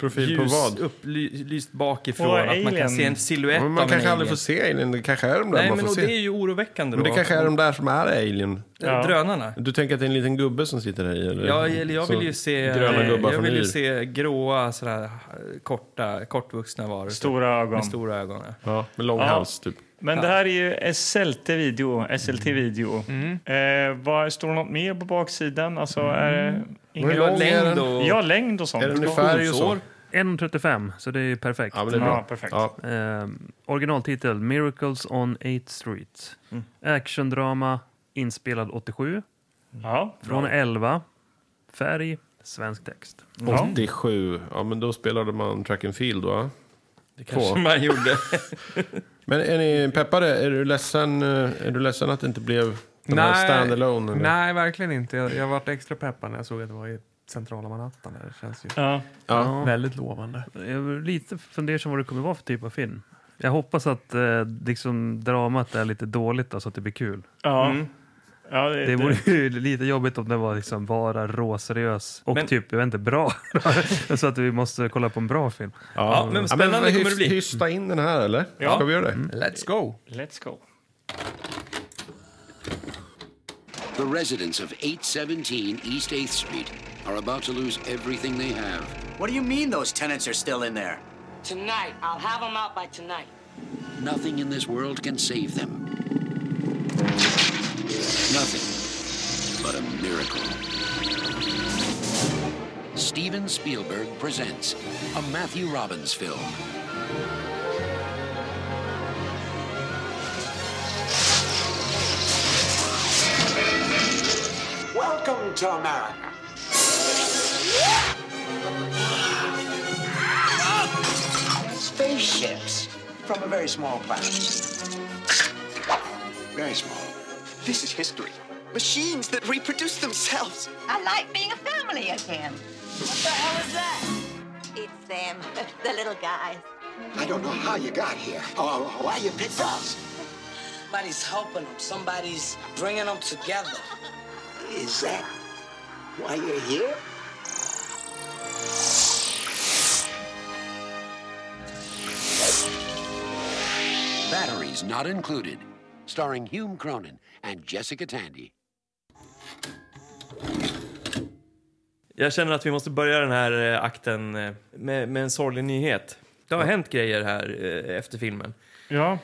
Profil på vad?
upplyst bakifrån.
Och
att man
alien.
kan se en silhuett
Men
av
man
en
kanske aldrig
alien.
får se alien. Det kanske är de där
Nej,
man
men
får
och
se.
det är ju oroväckande
Men det
då.
kanske är de där som är alien.
Ja.
Drönarna.
Du tänker att det är en liten gubbe som sitter här i? Eller?
Ja, eller jag vill
Så-
ju se,
gröna
eh,
gubbar
jag
från
vill
yr.
ju se gråa, sådana här eh, korta, kortvuxna varelser.
Stora ögon.
Med stora ögon, ja.
Ja, med lång
Ja.
hals typ.
Men det här är ju SLT-video. SLT-video. Eh, vad, står det något mer på baksidan? Alltså, är det
Hur
ingen...
Det var
lång är
längd
den?
och...
Ja, längd och sånt.
Är det ungefär så?
Funktionsår.
1.35, så det är ju perfekt.
Ja, men det är
Ja,
bra.
perfekt.
Ja.
Eh, originaltitel Miracles on 8th Street.
Mm.
Actiondrama inspelad 87.
Ja.
Från 11. Färg, svensk text.
Ja.
87. Ja, men då spelade man track and field va?
Det kanske man gjorde.
[laughs] Men är ni peppade? Är du ledsen, eh, är du ledsen att det inte blev den här
Nej.
standalone? eller?
Nej, verkligen inte. Jag, jag varit extra peppad när jag såg att det var i centrala Manhattan. Där. Det känns ju
Ja.
Ja.
väldigt lovande.
Jag är lite fundersam vad det kommer vara för typ av film. Jag hoppas att eh, liksom, dramat är lite dåligt då, så att det blir kul.
Ja. Ja,
Det vore ju [laughs] lite jobbigt om den var liksom bara råseriös och
Men-
typ, jag vet inte, bra. [laughs] så att vi måste kolla på en bra film.
Ja, men spännande
hyfs-
kommer det bli. Mm.
Hysta in den här eller?
Ja.
Ska vi göra det?
Let's go!
Let's go.
The residents of 817 East 8th Street are about to lose everything they have.
What do you mean those tenants are still in there?
Tonight. I'll have them out by tonight.
Nothing in this world can save them. Nothing but a miracle. Steven Spielberg presents a Matthew Robbins film.
Welcome to America. ships from a very small planet.
Very small.
This is history. Machines that reproduce themselves.
I like being a family again.
What the hell is that?
It's them, the little guys.
I don't know how you got here or why you picked us.
Somebody's helping them. Somebody's bringing them together.
Is that why you're here?
Batteries Not Included, starring Hume Cronin and Jessica Tandy.
Jag känner att vi måste börja den här eh, akten eh, med, med en sorglig nyhet. Det har hänt grejer här eh, efter filmen.
Ja,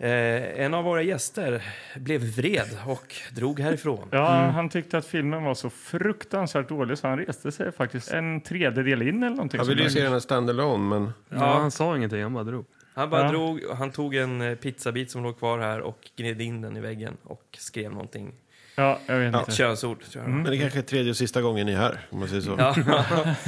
Eh, en av våra gäster blev vred och drog härifrån.
ja han tyckte att filmen var så fruktansvärt dålig så han reste sig faktiskt en tredjedel in eller någonting.
Jag
sånt
ville ju
där.
se den här standalone, men...
Ja, han sa ingenting, han bara drog.
Han, bara
Ja.
drog, och han tog en eh, pizzabit som låg kvar här och gned in den i väggen och skrev någonting.
Ja, jag vet
Ett
inte.
könsord, tror jag.
Mm.
Men det kanske är tredje och sista gången ni är här, om man säger så.
Ja.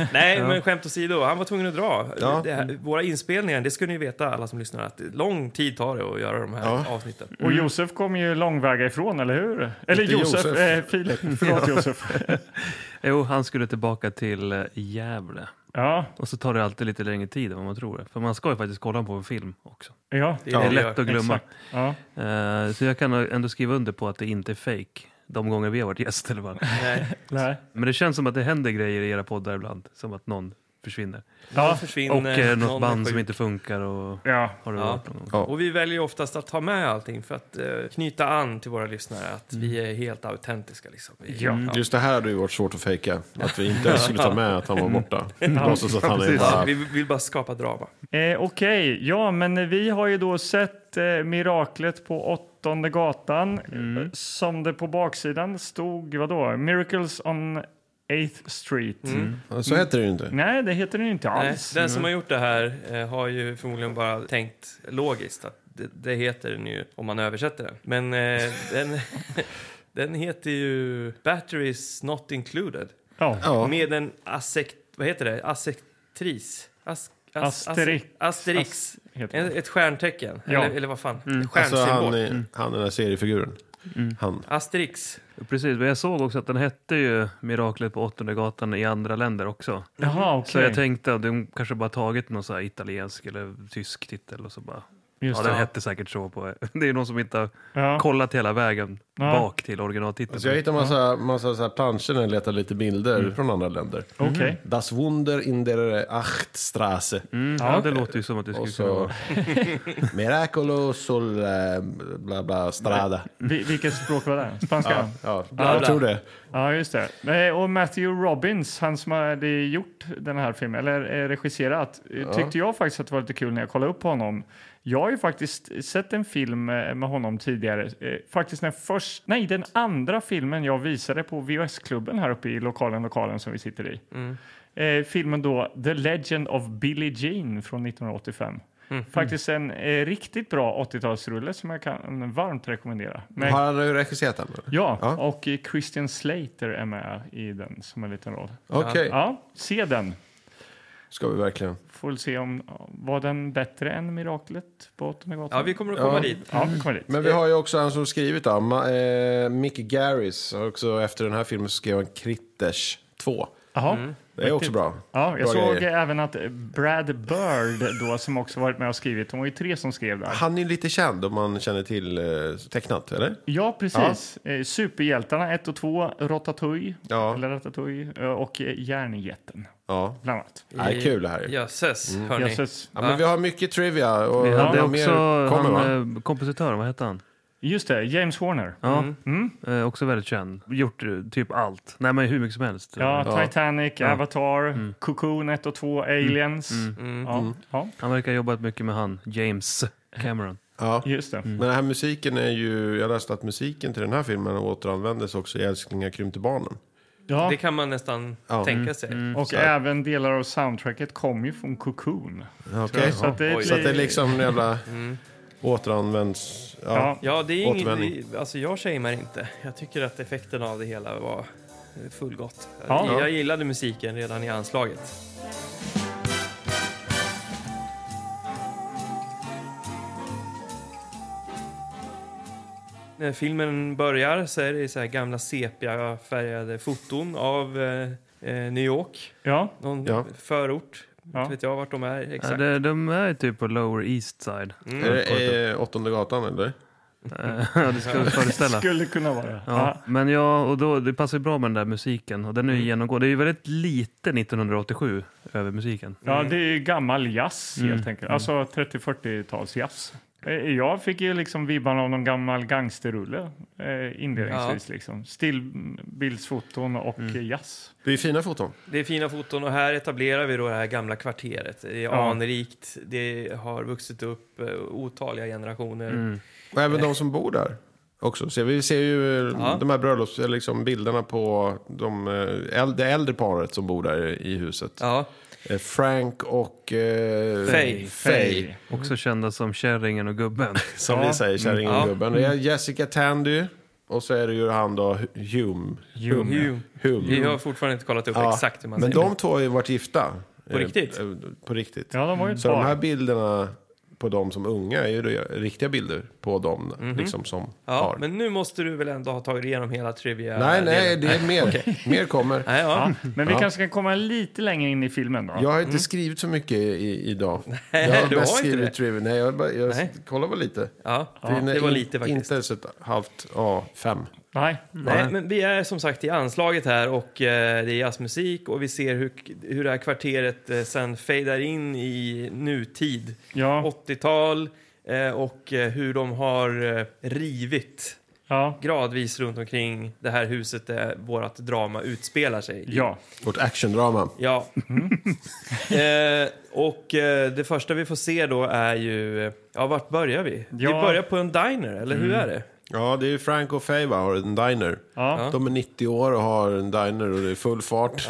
[laughs]
Nej, men skämt åsido, han var tvungen att dra.
Ja.
Det här, våra inspelningar, det ska ni veta alla som lyssnar, att lång tid tar det att göra de här
Ja.
avsnitten.
Och Josef kom ju långväga ifrån, eller hur? Eller
Inte
Josef,
Josef.
Eh, Filip. Förlåt Josef.
Jo, han skulle tillbaka till eh, Gävle.
Ja,
Och så tar det alltid lite längre tid än vad man tror. För man ska ju faktiskt kolla på en film också.
ja.
Det är
Det
det
är
vi
lätt
gör.
att glömma.
Exakt. Ja.
Eh, så jag kan ändå skriva under på att det inte är fake. De gånger vi har varit gäster. va?
Nej,
Nej.
Men det känns som att det händer grejer i era poddar ibland. Som att någon försvinner.
någon
Ja.
försvinner,
Och eh,
någon
något
är
band
sjuk.
som inte funkar. Och...
Ja.
Har det
Ja.
varit någon gång?
Ja.
Och vi väljer ju oftast att ta med allting för att eh, knyta an till våra lyssnare att vi
Mm.
är helt autentiska. Liksom. Vi-
Ja.
Just det här hade ju varit svårt att fejka. Att vi inte ens skulle ta med att han var borta. [laughs] Låtsas att han är
precis.
Ja,
bara...
vi vill bara skapa drama.
Eh, Okej, ja, men vi har ju då sett eh, miraklet på åttonde gatan
Mm.
eh, som det på baksidan stod, vadå, Miracles on 8th Street.
Mm.
Så heter det ju inte.
Nej, det heter den ju inte
Nej,
alls.
den som har gjort det här eh, har ju förmodligen bara tänkt logiskt att det, det heter den ju om man översätter den. Men
[laughs]
eh, den, [laughs] den heter ju Batteries Not Included
Ja.
Ja.
med en asekt, vad heter det? Asektris? As,
Asterix.
Asterix.
heter
En- ett stjärntecken.
Ja.
Eller, eller vad fan? Ett
Alltså
Stjärnsymbol. Mm.
han, är, han är den här seriefiguren. Han.
Asterix.
Precis, men jag såg också att den hette ju Miraklet på åttonde gatan i andra länder också.
Jaha,
Så
okej.
jag tänkte att de kanske bara tagit någon så här italiensk eller tysk titel och så bara...
Just
ja, den
det.
hette säkert så på... [laughs] Det är någon som inte har
Ja.
kollat hela vägen
Ja.
bak till originaltiteln.
Alltså jag hittade massa, massa så här planscher när jag letade lite bilder från andra länder.
Okej. Mm.
Das Wunder in der Achtstraße.
Mm, ja, det låter ju som att det skulle
Och
kunna vara...
så... [laughs] Miracolo sol... eh, Bla bla strada.
Vi- Vilket språk var det? Spanska?
Ja,
Ja,
ja. jag tror det.
just det. Eh, Och Matthew Robbins, han som hade gjort den här filmen, eller eh, regisserat, eh, tyckte jag faktiskt att det var lite kul när jag kollade upp honom. Jag har ju faktiskt sett en film eh, med honom tidigare. Eh, Faktiskt den först, nej, den andra filmen jag visade på VHS-klubben här uppe i lokalen, lokalen som vi sitter i. Eh, filmen då The Legend of Billie Jean från 1985. Faktiskt en eh, riktigt bra 80-talsrulle som jag kan varmt rekommendera. Med
Har han regisserat den?
Ja,
Ja.
och eh, Christian Slater är med i den som en liten roll.
Okej,
Ja, se den.
ska vi verkligen.
Får väl se om var den bättre än Miraklet på Åttonde gatan.
Ja, vi kommer att komma
Ja.
dit.
ja, vi kommer dit.
Mm. Men vi har ju också han som skrivit då, Ma- eh, Mick Garris. har Också efter den här filmen så skrev han Critters 2.
Jaha.
Mm.
Det är också bra.
Ja, jag
Bra
såg
grejer.
även att eh, Brad Bird då, som också varit med och skrivit, de var ju tre som skrev där.
Han är ju lite känd om man känner till eh, tecknat, eller?
Ja, precis. Eh, Superhjältarna 1 och 2, Ratatouille,
Ja.
eller Ratatouille eh, och eh, Järnjätten,
Ja.
bland annat.
Nej, kul det här. ju.
Jösses,
Mm.
hörni.
Jösses.
Ja, men vi har mycket trivia och
Vi hade
ja, mer
också
kommer va?
han, eh, kompositören, vad hette han?
Just det, James Horner.
Ja, eh, också väldigt känd. Gjort eh, typ allt. Nej, men hur mycket som helst.
Ja,
Ja.
Titanic, Avatar, Cocoon 1 och 2, Aliens.
Mm.
Ja, ja,
Han verkar ha jobbat mycket med han, James Cameron.
Ja.
just det.
Men den här musiken är ju, jag läste att musiken till den här filmen återanvändes också i Älsklingar krympte barnen.
Ja, Mm.
Det kan man nästan
Ja. Mm.
tänka sig.
och även delar av soundtracket kom ju från Cocoon.
Okej.
Så att det,
Oj.
Så att det är liksom en jävla
Mm.
återanvänds... Ja.
Ja.
Ja, det är inget,
Återvändning.
det- alltså jag shamear inte. Jag tycker att effekten av det hela var fullgott.
Ja.
Jag, jag gillade musiken redan i anslaget. När filmen börjar så är det så här gamla sepiafärgade foton av eh, eh, New York.
Ja.
Någon
Ja.
förort.
Ja.
Inte vet jag vart de är
Ja,
exakt.
det, Eh, de är typ på Lower East Side.
Mm.
Är det eh, åttonde gatan eller?
Eh, [laughs] Ja, det skulle jag föreställa.
Skulle kunna vara det.
Ja, men ja, och då, det passar ju bra med den där musiken. Och den är ju
Mm.
genomgående. Det är ju väldigt lite 1987 över musiken.
Ja,
Mm.
det är ju gammal jazz
Mm.
helt enkelt. Alltså 30-40-tals jazz. Eh, Jag fick ju liksom vibbarna av någon gammal gangsterrulle eh, inledningsvis. Liksom. Stillbildsfoton och eh, jazz.
Det är fina foton.
Det är fina foton och här etablerar vi då det här gamla kvarteret. Det är
Ja.
anrikt, det har vuxit upp eh, otaliga generationer.
Mm.
Och även de som bor där. Också. Så vi ser ju eh,
Ja.
de här bröllops, eller liksom bilderna på de, eh, äl- det äldre paret som bor där i huset.
Ja,
Eh, Frank och... Eh,
Faye.
Faye.
Också kända som Kärringen och Gubben.
Som
Ja.
vi säger, kärringen
Ja. Mm.
och gubben. Det är Jessica Tandy. Och så är det ju han då, Hu- Hume.
Hume,
ja.
Hume.
vi har fortfarande inte kollat upp
Ja,
exakt hur man
Men
säger
de två har ju varit gifta.
På riktigt?
Eh, eh, På riktigt.
Ja, de var ju ett
Så de här
par.
bilderna på dem som unga är ju då riktiga bilder på dem liksom som
Mhm. Ja,
par.
men nu måste du väl ändå ha tagit igenom hela trivia
Nej, nej,
delen.
det är mer. Mer kommer.
Nej, [laughs] ja.
Ja, men vi
Ja.
kanske kan komma lite längre in i filmen då.
Jag har inte skrivit så mycket i, idag.
Mm. Nej,
jag
du har inte
skrivit
det.
trivia. Nej, jag, bara, jag
Nej.
kollar väl lite.
Ja,
är
det var
eh, in-
lite faktiskt.
Inte ens ett halvt A5.
Nej.
Nej, men vi är som sagt i anslaget här och eh, det är jazzmusik och vi ser hur, hur det här kvarteret eh, sen fejdar in i nutid.
Ja,
80-tal eh, och eh, hur de har eh, rivit
ja,
gradvis runt omkring det här huset där vårt drama utspelar sig. i.
ja.
Vårt actiondrama.
Ja.
Mm.
[laughs] eh, och eh, det första vi får se då är ju, eh, ja vart börjar vi? Vi
Ja.
börjar på en diner, eller hur
Mm.
är det?
Ja, det är ju Frank och Faye va, har en diner.
ja.
De är 90 år och har en diner och det är full fart.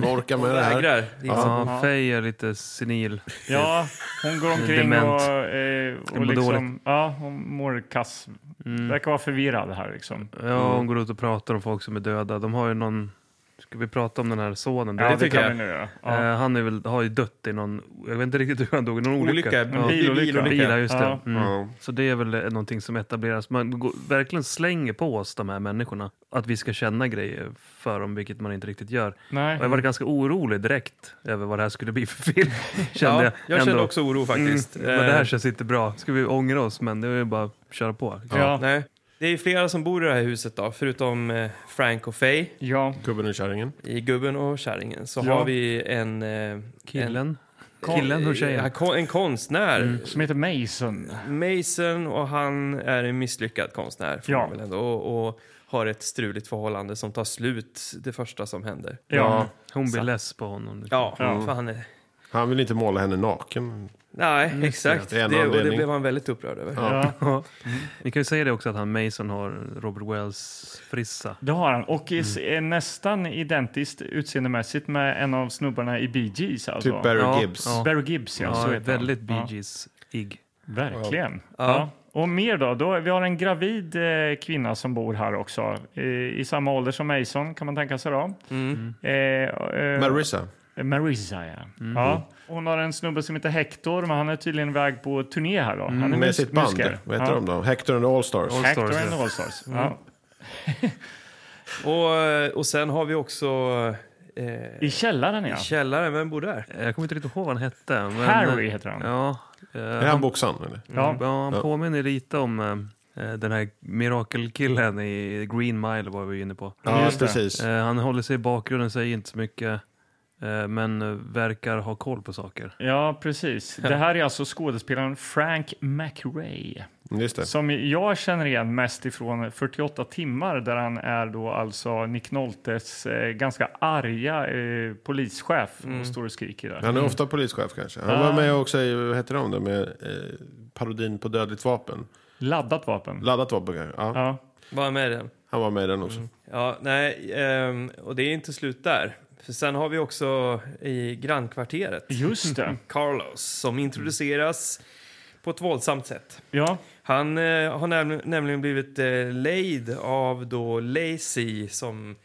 De orkar med det här.
Vägrar. Det är inte så-
Ja, Faye är lite senil.
ja. Hon går omkring
Dement.
och, eh,
mår Mm.
och liksom, ja, hon mår kass. Verkar vara förvirrad här liksom.
Ja, hon går ut och pratar om folk som är döda. De har ju någon... Ska vi prata om den här sonen?
Ja, det,
tycker
kan
jag.
vi nu göra. Ja.
Eh, han är väl, har ju dött i någon... Jag vet inte riktigt hur han dog. i Någon olycka.
Olycka.
En
Ja.
bilolycka.
Bilar, just det.
Ja.
Mm.
Ja.
Så det är väl eh, någonting som etableras. Man går, verkligen slänger på oss de här människorna. Att vi ska känna grejer för dem, vilket man inte riktigt gör.
Nej.
Och jag var ganska orolig direkt över vad det här skulle bli för film. [laughs] Kände
ja, jag
ändå.
kände också oro faktiskt.
Mm, men det
Eh,
här känns inte bra. Ska vi ångra oss? Men det är ju bara att köra på.
Ja.
Nej. Det är flera som bor i det här huset då, förutom eh, Frank och Faye
Ja.
Gubben och kärringen.
i Gubben och Kärringen. Så
Ja.
har vi en... eh, En,
Killen. Killen och
ja,
tjejen. Mm.
kon- en konstnär,
Som heter Mason.
Mason, och han är en misslyckad konstnär får
Ja.
man väl ändå, och, och har ett struligt förhållande som tar slut det första som händer.
Ja.
Hon blir less på honom.
Ja,
Ja.
Fan, nej,
Han vill inte måla henne naken.
nej
Mm.
exakt.
det. Det är
Det,
en
och det
anledning.
blev han väldigt upprörd över.
Ja.
Vi kan ju säga det också att han Mason har Robert Wells frissa.
Det har han. Och is-
Mm.
är nästan identiskt utseendemässigt med en av snubbarna i Bee Gees. Alltså.
Typ Barry
Ja,
Gibbs.
ja.
Barry Gibbs, ja. så
Ja,
heter han.
väldigt Bee
Ja.
Gees-igg.
Verkligen. Ja. Och mer då? då? Vi har en gravid eh, kvinna som bor här också. Eh, I samma ålder som Mason kan man tänka sig då. Eh, eh,
Mm. Marissa. Mm.
Marissa, ja. ja. Hon har en snubbe som heter Hector, men han är tydligen iväg på turné här då. Han är
Mm, Med
mus-
sitt band.
musiker.
Vad heter Mm.
ja.
de då? Hector and the Allstars.
All-
Hector
Allstars,
and the Allstars. Ja.
Och, och sen har vi också eh,
I källaren, ja.
källaren, vem bor där?
Jag kommer inte riktigt ihåg vad han hette. Men,
Harry heter han.
Ja, eh,
Är
han,
han boxaren? Eller?
Ja.
ja, han
Ja.
påminner lite om eh, den här mirakelkillen i Green Mile var vi ju inne på.
Ja,
Just det.
precis.
Eh, han håller sig i bakgrunden, säger inte så mycket. eh, Men eh, verkar ha koll på saker.
Ja, precis. Det här är alltså skådespelaren Frank McRae
Just det.
som jag känner igen mest ifrån 48 timmar där han är då alltså Nick Noltes eh, ganska arga eh, polischef och står och skriker där.
Han är ofta polischef kanske. Han
Ah.
var med också i, vad heter de, det med eh, parodin på Dödligt vapen.
Laddat vapen.
Laddat vapen kanske. Ja,
Ja.
Vad är med den?
Han var med i den också.
Ja, nej, ehm, och det är inte slut där. För sen har vi också i grannkvarteret
Just det.
Carlos som introduceras på ett våldsamt sätt.
Ja.
Han eh, har näml- nämligen blivit eh, lejd av då Lacey som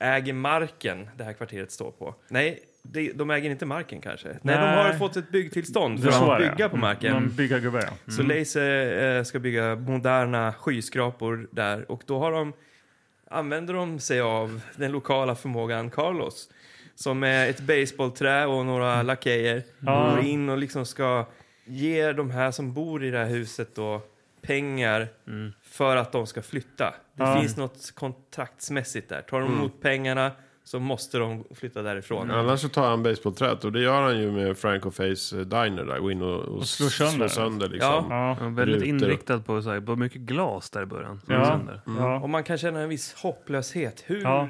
äger marken det här kvarteret står på. Nej, de, de äger inte marken kanske? Nej,
Nej.
de har fått ett byggtillstånd för
Så
att
är det.
bygga på marken.
De bygger gubbar, ja. Mm.
Så Leise eh, ska bygga moderna skyskrapor där och då har de, använder de sig av den lokala förmågan Carlos som är ett baseballträ och några lakejer
Mm. Ja.
går in och liksom ska ge de här som bor i det här huset då pengar för att de ska flytta. Det
Mm. Ja.
finns något kontraktsmässigt där. Tar de
Mm.
emot pengarna så måste de flytta därifrån.
Annars så tar han baseballträet och det gör han ju med Franco Face eh, Diner där. Går in och, och,
Och slår sönder.
liksom.
Ja.
Ja, väldigt
Rutor.
inriktad på, så här, på mycket glas där i början. som
Ja.
sönder.
Ja.
Och man kan känna en viss hopplöshet. Hur,
Ja.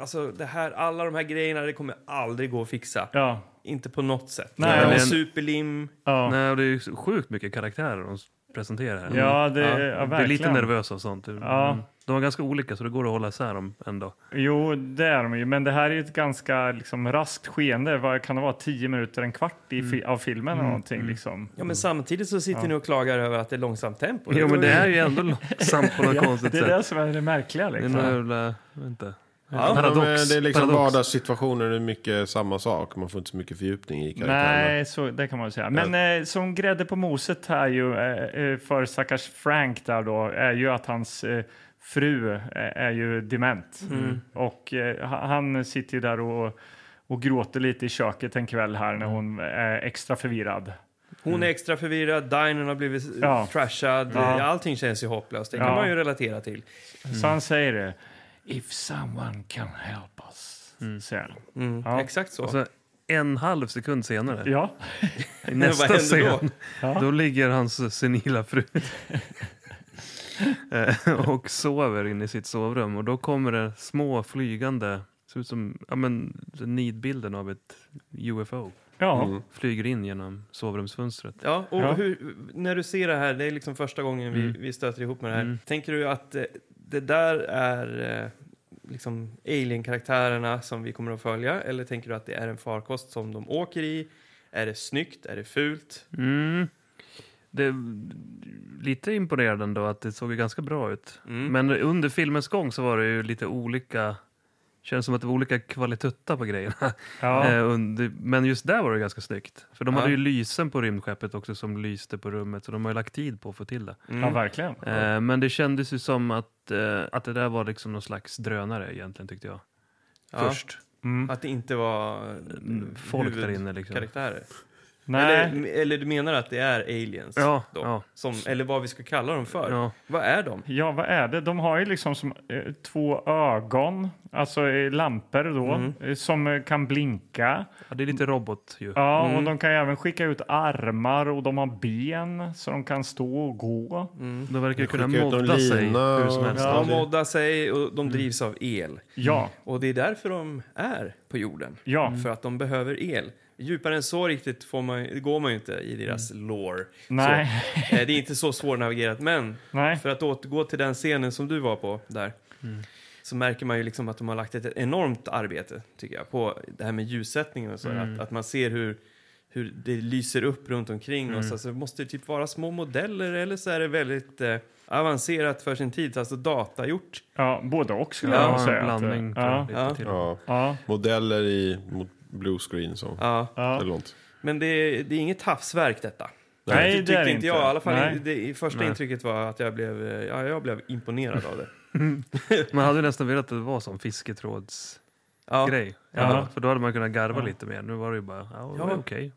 alltså det här, alla de här grejerna, det kommer aldrig gå att fixa.
Ja.
Inte på något sätt.
Nej,
Nej,
men-
superlim.
Ja.
Nej, och det är ju sjukt mycket karaktärer de s- presenterar här.
Ja, det, Eh, ja,
Jag blir
verkligen.
lite nervös av sånt. Mm.
Ja.
De är ganska olika så det går att hålla isär dem ändå.
Jo, det är de ju. Men det här är ju ett ganska liksom, raskt skeende. Vad kan det vara? Tio minuter, en kvart i fi- av filmen eller någonting. Liksom.
Ja, men samtidigt så sitter ni och klagar över att det är långsamt tempo.
Jo men det
är...
är ju
[laughs]
ändå långsamt på något konstigt
det är
sätt.
det som är det märkliga.
Det är
Liksom.
en jävla, vänta.
Ja,
paradox.
men det är liksom
paradox.
vardagssituationer, det är mycket samma sak. Man får inte så mycket fördjupning i karaktärerna.
Nej, så, det kan man ju säga. Men eh, som grädde på moset här ju, eh, eh, för stackars Frank där då, är ju att hans eh, fru eh, är ju dement. Och eh, ha- han sitter ju där och, och gråter lite i köket en kväll här när hon eh, är extra förvirrad.
Hon är extra förvirrad, dinern har blivit eh,
Ja.
trashad.
Ja.
Allting känns ju hopplöst. Det kan
Ja.
man ju relatera till.
Så han säger det. If someone can help us, säger han.
Mm.
Ja.
Exakt så.
Och så en halv sekund senare,
Ja,
i
Men
nästa
vad händer då?
scen, då? ligger hans senila fru [laughs] eh, och sover inne i sitt sovrum. Och då kommer det små flygande, ser ut som ja, men, nidbilden av ett UFO.
ja.
Flyger in genom sovrumsfönstret.
Ja, och
Ja.
Hur, när du ser det här, det är liksom första gången vi,
Mm.
vi stöter ihop med det här. Tänker du att eh, det där är eh, liksom alien-karaktärerna som vi kommer att följa? Eller tänker du att det är en farkost som de åker i? Är det snyggt? Är det fult?
Mm. Det är lite imponerande ändå att det såg ju ganska bra ut.
Mm.
Men under filmens gång så var det ju lite olika... Känns som att det var olika kvalitutta på grejerna.
Ja.
[laughs] Eh, under- Men just där var det ganska snyggt. För de
Ja.
hade ju lysen på rymdskeppet också som lyste på rummet. Så de har ju lagt tid på att få till det.
ja, verkligen.
Eh, Men det kändes ju som att, eh, att det där var liksom någon slags drönare egentligen tyckte jag.
Ja.
Först.
Att det inte var eh,
Mm, folk där inne liksom.
huvudkaraktärer?
Nej,
Eller, eller du menar att det är aliens?
Ja,
då?
ja.
Som, eller vad vi ska kalla dem för?
Ja.
Vad är de?
ja, vad är det? De har ju liksom som, eh, två ögon, alltså eh, lampor då,
Mm.
eh, som eh, kan blinka.
Ja, det är lite robot ju.
Ja, och de kan ju även skicka ut armar och de har ben så de kan stå och gå.
De verkar ju kunna
Skicka ut någon
modda sig
lina
hur som
och-
helst.
Ja.
De moddar sig och
Mm.
de drivs av el.
Ja,
Och det är därför de är på jorden.
ja.
Mm.
För att de behöver el. Djupare än så riktigt får man, går man ju inte i deras lore.
Mm. Nej.
Så, eh, det är inte så svårnavigerat. Men
Nej. Mm.
för att återgå till den scenen som du var på där. Så märker man ju liksom att de har lagt ett enormt arbete tycker jag på det här med ljussättningen och så.
Mm.
Att, att man ser hur, hur det lyser upp runt omkring
Mm.
oss. Alltså, det måste ju typ vara små modeller eller så är det väldigt eh, avancerat för sin tid. Alltså datagjort.
ja både och skulle
Ja,
jag säga.
en
att, eh,
blandning. tror jag,
Ja,
lite
Ja.
till.
Ja.
ja,
Modeller i mot blue screen så.
Ja.
ja.
Eller något.
Men det, det är inget havsverk detta.
Nej,
det
det
tyckte
är det
inte jag. I alla fall
Nej.
det, första intrycket var att jag blev, eh, ja, jag blev imponerad av det.
Man hade ju nästan velat att det var som fisketrådsgrej.
Ja.
Ja. För då hade man kunnat garva lite mer. Nu var det ju bara, ja, det var
Ja.
okej.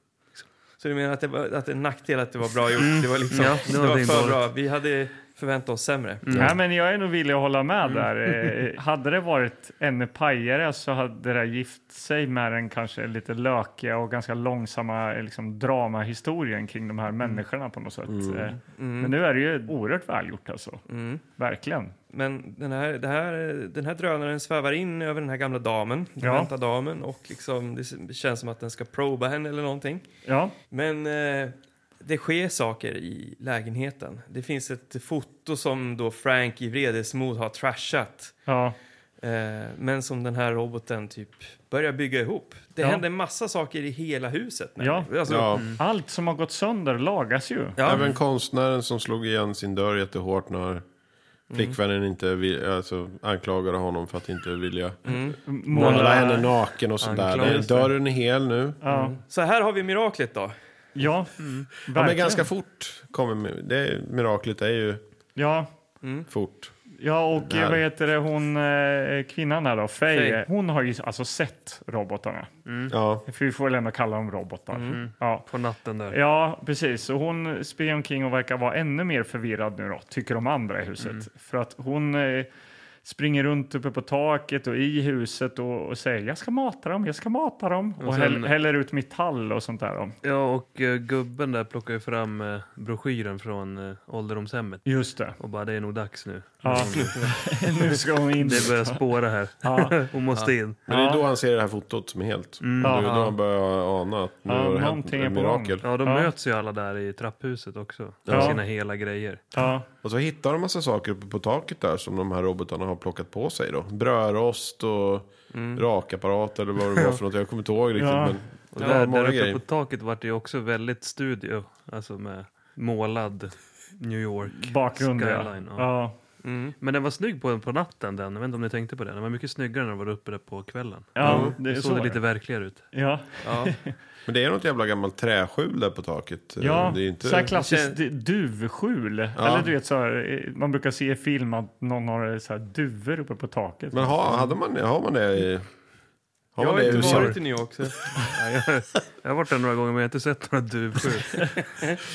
Så du menar att det, var, att det är en nackdel att det var bra gjort? Det var, liksom,
Ja,
det
det
var,
var din
för
dåligt.
bra. Vi hade förväntat oss sämre.
Mm.
Nej, men jag är nog villig att hålla med
[laughs]
där. Eh, hade det varit ännu pajare så hade det där gift sig med den kanske lite lökiga och ganska långsamma eh, liksom, dramahistorien kring
Mm.
de här människorna på något sätt. Eh, Men nu är det ju oerhört välgjort alltså.
Mm.
Verkligen.
Men den här, det här, den här drönaren svävar in över den här gamla damen, den
Ja.
vänta damen och liksom, det känns som att den ska proba henne eller någonting.
Ja,
Men eh, det sker saker i lägenheten. Det finns ett foto som då Frank i vredesmod har trashat.
ja,
Eh, men som den här roboten typ börjar bygga ihop. Det
Ja.
händer massa saker i hela huset.
ja.
nämligen. Alltså,
Ja.
Allt som har gått sönder lagas ju.
Mm.
ja.
Mm.
Även konstnären som slog igen sin dörr jättehårt när Flickvännen inte vill, alltså, anklagade honom för att inte vilja
Mm.
måla
Måla-
henne naken och sådär.
Anklagelse.
Det- Dörren är hel nu.
Mm. Så här har vi miraklet då.
Ja,
Mm. Ja, men
verkligen.
ganska fort kommer mi- det miraklet är ju
Ja,
fort.
Ja, och
Där.
eh, vad heter det, hon, eh, kvinnan här då, Faye,
Faye.
hon har ju alltså sett robotarna.
Ja.
För vi får väl ändå kalla dem robotar.
Mm.
Ja.
På natten där.
ja, precis. Och hon springer omkring och verkar vara ännu mer förvirrad nu då, tycker de andra i huset.
Mm.
För att hon eh, springer runt uppe på taket och i huset och, och säger jag ska mata dem, jag ska mata dem. Och,
sen-
häll, häller ut metall och sånt där. Då.
Ja, och eh, gubben där plockar ju fram eh, broschyren från eh, ålderdomshemmet
Just det.
och bara det är nog dags nu.
Ja. [laughs] nu ska hon in.
Mm. Det börjar spåra här. [laughs]
Ja.
Hon måste in.
Men det är då han ser det här fotot som är helt. Det är då
Mm. Ja.
han börjar ana att nu
Ja,
har det hänt
någonting är
ett
på
mirakel.
Ja, de
Ja.
möts ju alla där i trapphuset också. Med
Ja.
sina hela grejer.
Ja.
Och så hittar de massa saker uppe på taket där som de här robotarna har plockat på sig då. Brödrost och rakapparat eller vad det
[laughs]
var för något. Jag kommer inte ihåg riktigt.
Mm. Ja.
Men
Och
det
där,
var
där
många
uppe
grejer.
på taket vart det ju också väldigt studio. Alltså med målad New York.
Bakgrunden, ja.
Skyline, ja.
ja.
Men den var snygg på, på natten den. Jag vet inte om ni tänkte på det. Den var mycket snyggare när den var uppe där på kvällen.
Ja,
Mm.
det är
såg
så.
det lite verkligare ut.
Ja.
Ja.
Men det är något jävla gammalt träskjul där på taket. Eh,
Ja,
det är inte...
så här klassiskt
Det
duvskjul.
Ja.
Eller du vet, så här, eh, man brukar se i film att någon har eh, så här duvor uppe på taket.
Men ha, hade man, har man det
Mm.
i... Har
Jag
man
har
det i
inte
USA?
varit i New York. Så.
Ja, jag, jag har varit där några gånger men jag har inte sett några
[laughs]
duvskjul.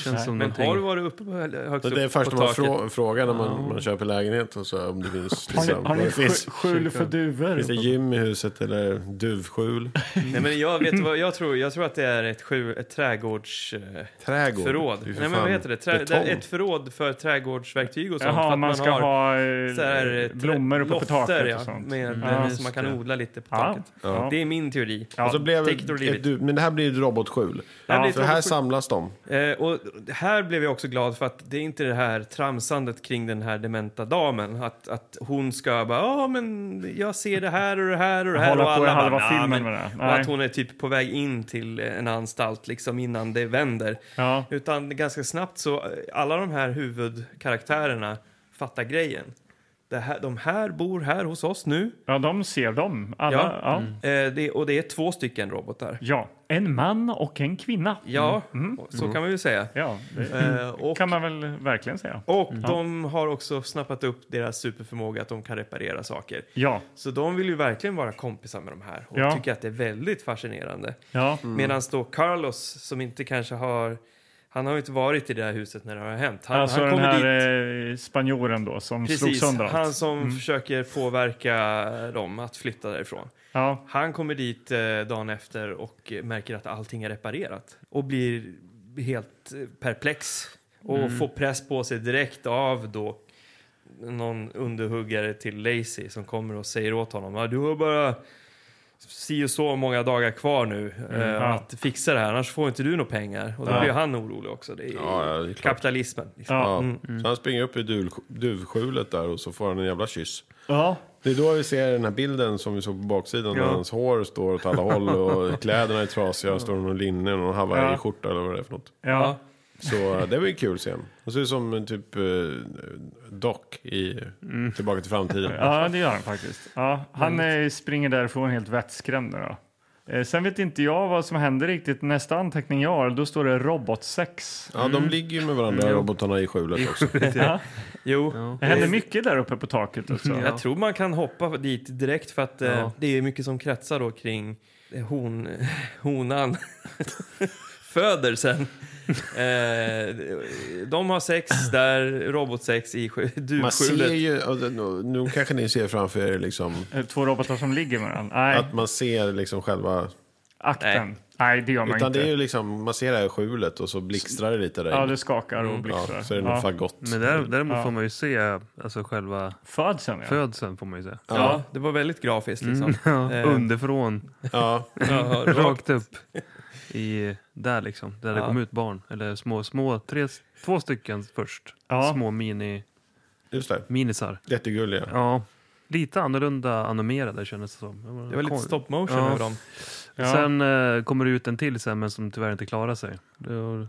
Känns
Men
som någonting.
har du varit uppe på hö- högst
Det
upp
är
på
först man
taket?
frå, frågar när man, man köper lägenhet och så om det finns...
Har ni,
Liksom,
har ni
det finns,
skj- skjul för duvor?
finns det gym i huset eller duvskjul?
Nej, men jag, vet du vad, jag, tror, jag tror att det är ett, sju, ett trädgårds... eh,
[laughs] Trädgård?
Förråd.
Det är ju
Nej,
för
men
fan
vad heter det? Trä, det
betong.
är ett förråd för trädgårdsverktyg och sånt. för
Jaha,
att
man ska
har
ha
så här, eh,
eh,
trä-
blommor uppe på
lofter,
taket
ja,
och sånt.
Med,
Mm.
med,
Ja,
som man
just
kan
det.
odla lite på
Ja.
taket.
Ja.
Det är min teori.
Ja.
Och så blev
take it or leave
ett, du, men det här blir ett robotskjul.
Det här blir
För här
tråkigt.
samlas de.
Eh, och här blev jag också glad för att det är inte det här tramsandet kring den här dementa damen. Att, att hon ska bara, ja men jag ser det här och det här och det här.
Hålla
och
på i halva
"Nah,
filmen
men-"
med det.
Och
Nej.
att hon är typ på väg in till en anstalt liksom innan det vänder.
Ja.
Utan ganska snabbt så, eh, alla de här huvudkaraktärerna fattar grejen. Det här, de här bor här hos oss nu.
ja, de ser dem. Alla,
Ja.
ja. Ja.
Eh, det, och det är två stycken robotar.
en man och en kvinna.
Ja, och så kan man ju säga.
Ja, det
Eh, och
Mm. kan man väl verkligen säga.
och de har också snappat upp deras superförmåga att de kan reparera saker.
Ja,
Så de vill ju verkligen vara kompisar med de här och
Ja.
tycker att det är väldigt fascinerande.
ja.
Medan då Carlos, som inte kanske har... Han har ju inte varit i det här huset när det har hänt. Han,
alltså
han
den
kommer dit...
här dit... spanjoren då som slog
Precis,
sönder allt. Mm.
han som försöker påverka dem att flytta därifrån.
Ja,
Han kommer dit eh, dagen efter och eh, märker att allting är reparerat och blir helt eh, perplex och
Mm.
får press på sig direkt av då någon underhuggare till Lacey som kommer och säger åt honom "Ja, du har bara si och så många dagar kvar nu eh,
Mm, ja.
att fixa det här annars får inte du några pengar och då
Ja.
blir han orolig också. Det är
Ja, ja, det är klart.
kapitalismen. Liksom.
ja.
Ja. Så han springer upp i duv- duvskjulet där och så får han en jävla kyss.
ja.
Det är då vi ser den här bilden som vi såg på baksidan.
Ja.
När hans hår står åt alla
[laughs]
håll och kläderna är trasiga. Står det någon linne och någon hawaiiskjorta eller vad det är för något.
ja.
Så eh, det var ju en kul scen. Han ser ut som en typ eh, Doc i
Mm.
Tillbaka till framtiden.
Ja, det gör han faktiskt. Ja, han eh, springer därifrån helt vettskrämd. nu Då. Eh, sen vet inte jag vad som händer riktigt. Nästa anteckning jag har, då står det robotsex.
Ja, de ligger ju med varandra,
Mm.
robotarna i skjulet också.
Jo,
Det händer mycket där uppe på taket.
Mm.
Alltså.
Jag tror man kan hoppa dit direkt för att eh, det är mycket som kretsar då kring eh, hon, [laughs] honan [laughs] föder sen. Eh, de har sex där, robotsex i sk-
Man ser
duvskjulet.
ju, och det- nu- nu kanske ni ser framför er liksom,
Eh, Två robotar som ligger med varandra. Nej,
att man ser liksom själva...
akten. Nej. det gör man
Utan
inte.
det är ju liksom, man ser det här skjulet och så blixtrar det lite där
Ja,
inne.
det skakar och blixtrar.
Mm. ja, så är det något fagott.
Men där, däremot får man ju se alltså, själva
Födseln, ja.
födseln. Får man ju se.
Ja, det var väldigt grafiskt liksom.
Mm. Ja,
Eh.
underifrån,
Ja,
Ja,
[laughs]
rakt.
rakt upp. I, där liksom, där det
Ja.
kom ut barn. Eller små, små tre, två stycken först.
Ja.
Små mini,
just det.
minisar.
Jättegulliga.
Ja, lite annorlunda animerade kändes det som.
Det var lite
Kon-
stop motion
Ja.
över dem.
Ja.
Sen eh, kommer det ut en till sen, men som tyvärr inte klarar sig. Då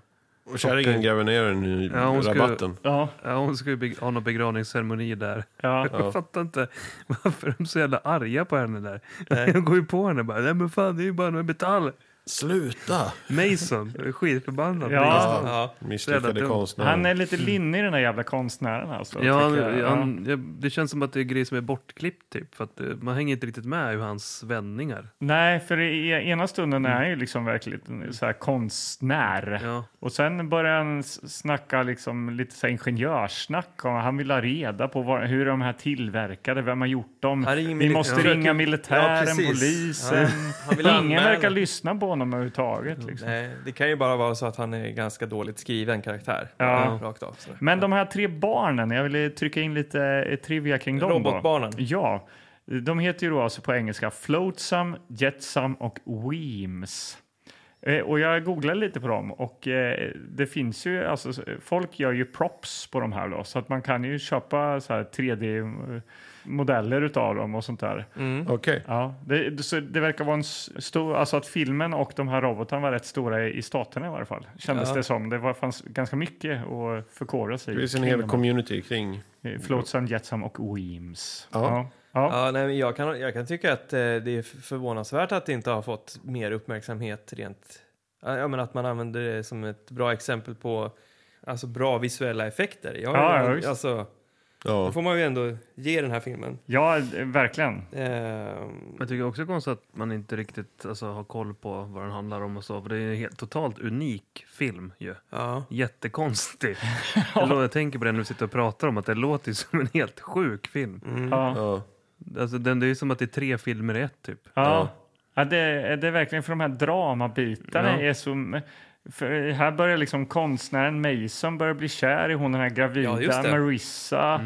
Och kärringen gräver ner den i
Ja, hon skulle-
rabatten.
Ja.
Ja, hon ska ju beg- ha någon begravningsceremoni där. [laughs]
Ja.
Jag fattar inte varför de är så jävla arga på henne där. [laughs] De går ju på henne bara, nej men fan det är ju bara med metall.
Sluta!
[laughs]
Mason, jag är skitförbannad.
Ja.
Ja.
Jävla
Misslyckade
dumt.
konstnär.
Han är lite linnig den där jävla konstnären alltså.
Ja, han,
tycker jag. Ja.
han, jag, det känns som att det är grejer som är bortklippt typ. För att eh, man hänger inte riktigt med i hans vändningar.
Nej, för i ena stunden
Mm.
är han ju liksom verkligen så här konstnär.
Ja.
Och sen börjar han s- snacka liksom lite så här ingenjörssnack. Och han vill ha reda på vad, hur de här tillverkade, vem har gjort dem.
Han ringer
Vi
mili-
måste
ja.
ringa militären,
Ja, precis.
polisen.
Han vill
Ingen
anmäla.
verkar lyssna på honom överhuvudtaget. Liksom.
Nej, Eh, det kan ju bara vara så att han är ganska dåligt skriven karaktär.
Ja.
Rakt av. sådär.
Men de här tre barnen, jag ville trycka in lite eh, trivia kring dem. då.
Robotbarnen.
Ja. De heter ju då alltså på engelska Floatsam, Jetsam och Weems. Eh, Och jag googlade lite på dem och eh, det finns ju, alltså s- folk gör ju props på de här då, så att man kan ju köpa så här 3D-modeller utav dem och sånt där.
Mm. Okej.
Ja, det, så det verkar vara en s- stor, alltså att filmen och de här robotarna var rätt stora i, i staterna i varje fall, kändes
Ja.
det som. Det var, fanns ganska mycket att förkovra sig
Det finns en
kring
hel
de här.
community kring...
Eh, Floatsam, Jetsam och Weems.
Ja.
Ja. Ja.
Ja, nej, men jag, kan, jag kan tycka att eh, det är förvånansvärt att det inte har fått mer uppmärksamhet rent... Ja, ja, men att man använder det som ett bra exempel på alltså, bra visuella effekter. Jag,
Ja, ja, visst.
alltså, då
Ja.
får man ju ändå ge den här filmen.
ja, eh, verkligen.
Ehm,
Men jag tycker också det är konstigt att man inte riktigt alltså, har koll på vad den handlar om och så. För det är en helt totalt unik film ju.
ja.
Jättekonstig. Jag lå- Jag tänker på det när vi sitter och pratar om att det låter ju som en helt sjuk film.
Ja.
Ja.
Alltså, den, det är ju som att det är tre filmer i ett typ.
Ja. Ja, det, det är verkligen för de här dramabitarna
Ja.
är så... För här börjar liksom konstnären Mason börja bli kär i hon den här gravida
Ja, just det.
Marissa.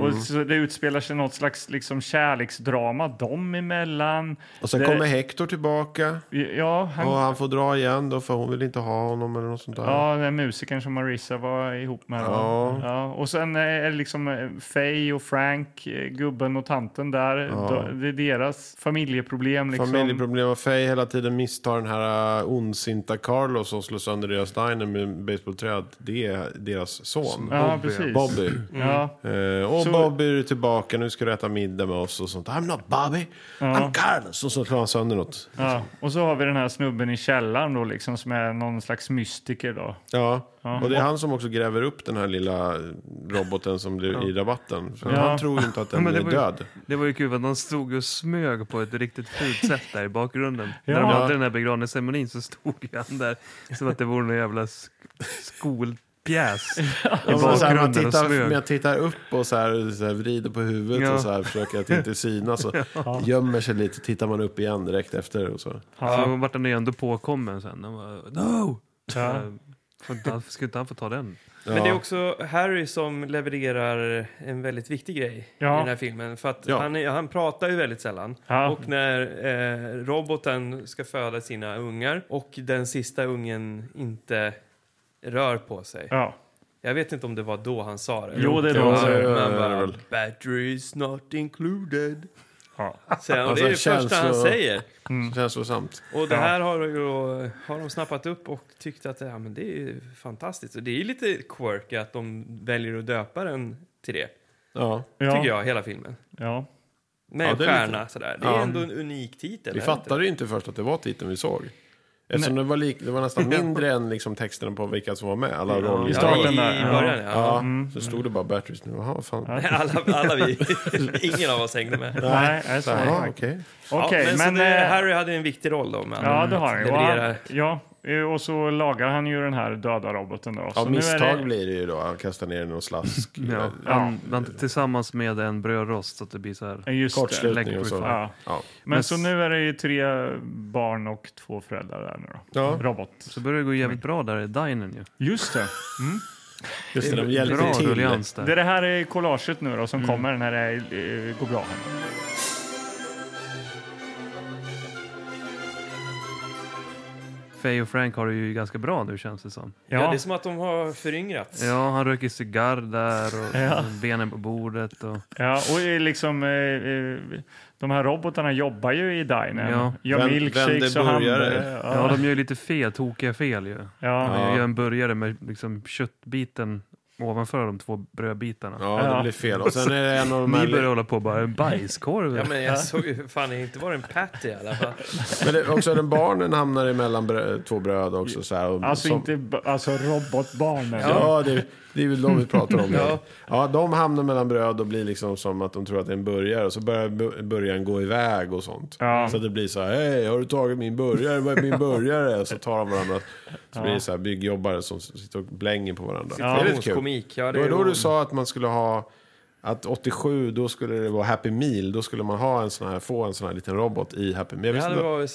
Och så det utspelar sig något slags liksom kärleksdrama dem emellan.
Och sen
Det-
kommer Hector tillbaka.
Ja, han,
Och han får dra igen då för hon vill inte ha honom eller något sånt där.
ja, den här musikern som Marissa var ihop med. då.
Ja.
Ja, och sen är det liksom eh, Faye och Frank, eh, gubben och tanten där. Då- Det är deras familjeproblem. Liksom.
Familjeproblem och Faye hela tiden misstar den här uh, ondsinta Carlos som slår sönder deras diner med basebollträd. Det är deras son.
Ja, precis.
Bobby.
Mm.
Ja.
Eh, och
Så-
Bobby är tillbaka, nu ska du äta middag med oss och sånt. I'm not Bobby, I'm Carlos. Och så slår han sönder något.
Ja, och så har vi den här snubben i källaren då liksom som är någon slags mystiker då.
Ja. och det är han som också gräver upp den här lilla roboten som blir i rabatten. För
Ja.
Han tror ju inte att den
Men det
är
var ju-
död.
Det var ju kul att de stod och smög på ett riktigt fult sätt där
[laughs]
i bakgrunden.
Ja.
När de hade den här begravningsceremonin så stod ju han där som att det vore någon jävla sk-
[laughs]
skolpjäs. I
Ja, men Alltså, så här, man,
bakgrunden och
tittar,
smög.
man tittar upp och så här, så här, vrider på huvudet
Ja.
och så här, försöker att inte synas. Och Gömmer sig lite, tittar man upp igen direkt efter. Och så.
Så vart han ju ändå påkommen sen. Han bara, no! Eh, får inte han- Skulle inte han få ta den?
Men det är också Harry som levererar en väldigt viktig grej
Ja.
i den här filmen. För att
Ja.
han, är- han pratar ju väldigt sällan.
Ja.
Och när eh, roboten ska föda sina ungar och den sista ungen inte rör på sig.
Ja.
Jag vet inte om det var då han sa det.
Jo, det är då
Ja,
han sa det.
Man
Ja, det är
bara,
väl.
batteries not included.
Ja.
Säger han, och det är det
Alltså,
första han
känslor-
säger.
Känslosamt.
Och det här har, ju, har de snappat upp och tyckt att ja, men det är fantastiskt. Och det är ju lite quirky att de väljer att döpa den till det,
Ja.
Ja.
tycker jag, hela filmen.
Ja.
Med
Ja,
en
det är lite-
stjärna sådär. Det är
Ja.
ändå en unik titel.
Vi
är det inte?
fattade ju inte först att det var titeln vi såg. Eftersom det var, lik, det var nästan mindre än liksom texterna på vilka som var med. Alla roller.
Ja,
Ja,
den
I
där, ja.
början, ja.
Ja, Mm. så stod det bara Batteries nu. Jaha, vad fan.
[laughs] Alla, alla vi, ingen av oss hängde med.
Nej, nej, så är det.
Jaha,
Okej,
okej.
ja, men
men...
så det, Mm.
eh,
Harry hade en viktig roll då. Men
ja, det har han ju. Och
leverera,
han- Ja, eh, och så lagar han ju den här döda roboten då.
Ja,
så
misstag blir det ju då. Han kastar ner den i någon slask.
Ja.
eh,
Han, han, tillsammans med en brödrost så att det blir så här.
Ja, Just det.
Kortslutning och så.
Ja.
Ja.
Men, så nu är det ju tre barn och två föräldrar där nu då.
Ja.
Robot.
Så börjar det gå jävligt bra där i dinern ju.
Just det.
Just det, de
Bra
hjälper till.
ruljans där.
Det är det här är collaget nu då som
Mm.
kommer när det eh, går bra. Här.
Faye och Frank har det ju ganska bra nu känns det som.
Ja. det är som att de har föryngrats.
Ja, han röker cigarr där och
Ja.
benen på bordet. Och...
Ja, och eh, liksom, eh, eh, de här robotarna jobbar ju i dinen.
Ja.
Gör
Vänd-
milkshakes
vänder
och hamburgare.
burgare. Ja, de gör ju lite fel, tokiga fel ju.
Ja.
Jag gör en burgare med liksom köttbiten ovanför de två brödbitarna.
Ja, det Ja. blir fel. Och sen är det en av de här-
Ni börjar hålla på och bara, en bajskorv.
Ja, men jag såg ju fan inte var det en patty i alla fall.
Men det, också den barnen hamnar emellan brö- två bröd också. Så här, och,
Alltså,
som-
inte, ba- alltså robotbarnen.
Ja, det, det är väl de vi pratar om.
Ja.
ja. ja, de hamnar mellan bröd och blir liksom som att de tror att det är en burgare. Och så börjar bu- burgaren gå iväg och sånt.
Ja.
Så att det blir så här, hej, har du tagit min burgare? Vad är min burgare? Och så tar de varandra. Så
Ja.
blir det så här byggjobbare som sitter och blänger på varandra.
Ja.
Det är lite kul.
Komik, ja, det
det var
är
då
roligt.
du sa att man skulle ha... Att 87, då skulle det vara Happy Meal. Då skulle man ha en sån här, få en sån här liten robot i Happy Meal. Jag
Det
visste
hade
inte-
varit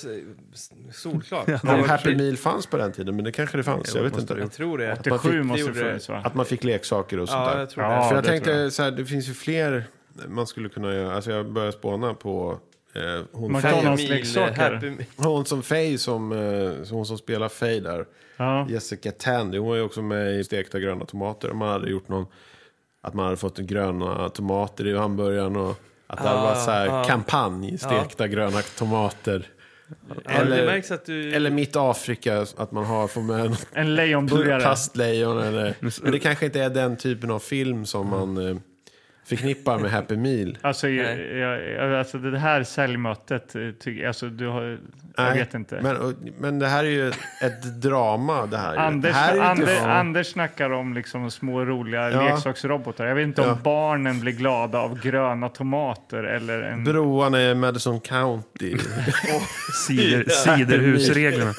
s- solklart.
Ja, om Happy Meal fanns på den tiden, men det kanske det fanns.
Jo,
Jag
det
vet
måste
inte.
det ha gjort. Jag tror det.
Att man
87
fick,
måste det ha funnits, va?
att man fick leksaker och
Ja,
sånt där.
jag tror det. Ja,
För jag
det
tänkte
tror
så här, det finns ju fler man skulle kunna göra. Alltså jag börjar spåna på eh, hon,
McDonald's-leksaker. Happy Meal,
hon som Faye, som, eh, hon som spelar Faye där. Jessica Tandy, hon var ju också med i Stekta gröna tomater. Man hade gjort någon, att man hade fått gröna tomater i hamburgaren och att det hade
Ah,
varit så här
ah.
kampanj, stekta gröna tomater.
Ja, det märks att du...
Eller mitt Afrika, att man har får med något-
En lejonburgare.
Plastlejon eller...
Mm.
Men det kanske inte är den typen av film som man eh, förknippar med Happy Meal.
Alltså, jag, jag, alltså det här säljmötet, eh, tycker- alltså, du har, jag
Nej,
vet inte.
Men, och- men det här är ju ett drama. Det här, ju.
Anders,
det här ju
Ander,
inte-
Anders snackar om liksom små roliga
Ja.
leksaksrobotar. Jag vet inte
Ja.
om barnen blir glada av gröna tomater eller en...
Broarna typ i Madison County. [laughs]
Cider- ciderhusreglerna.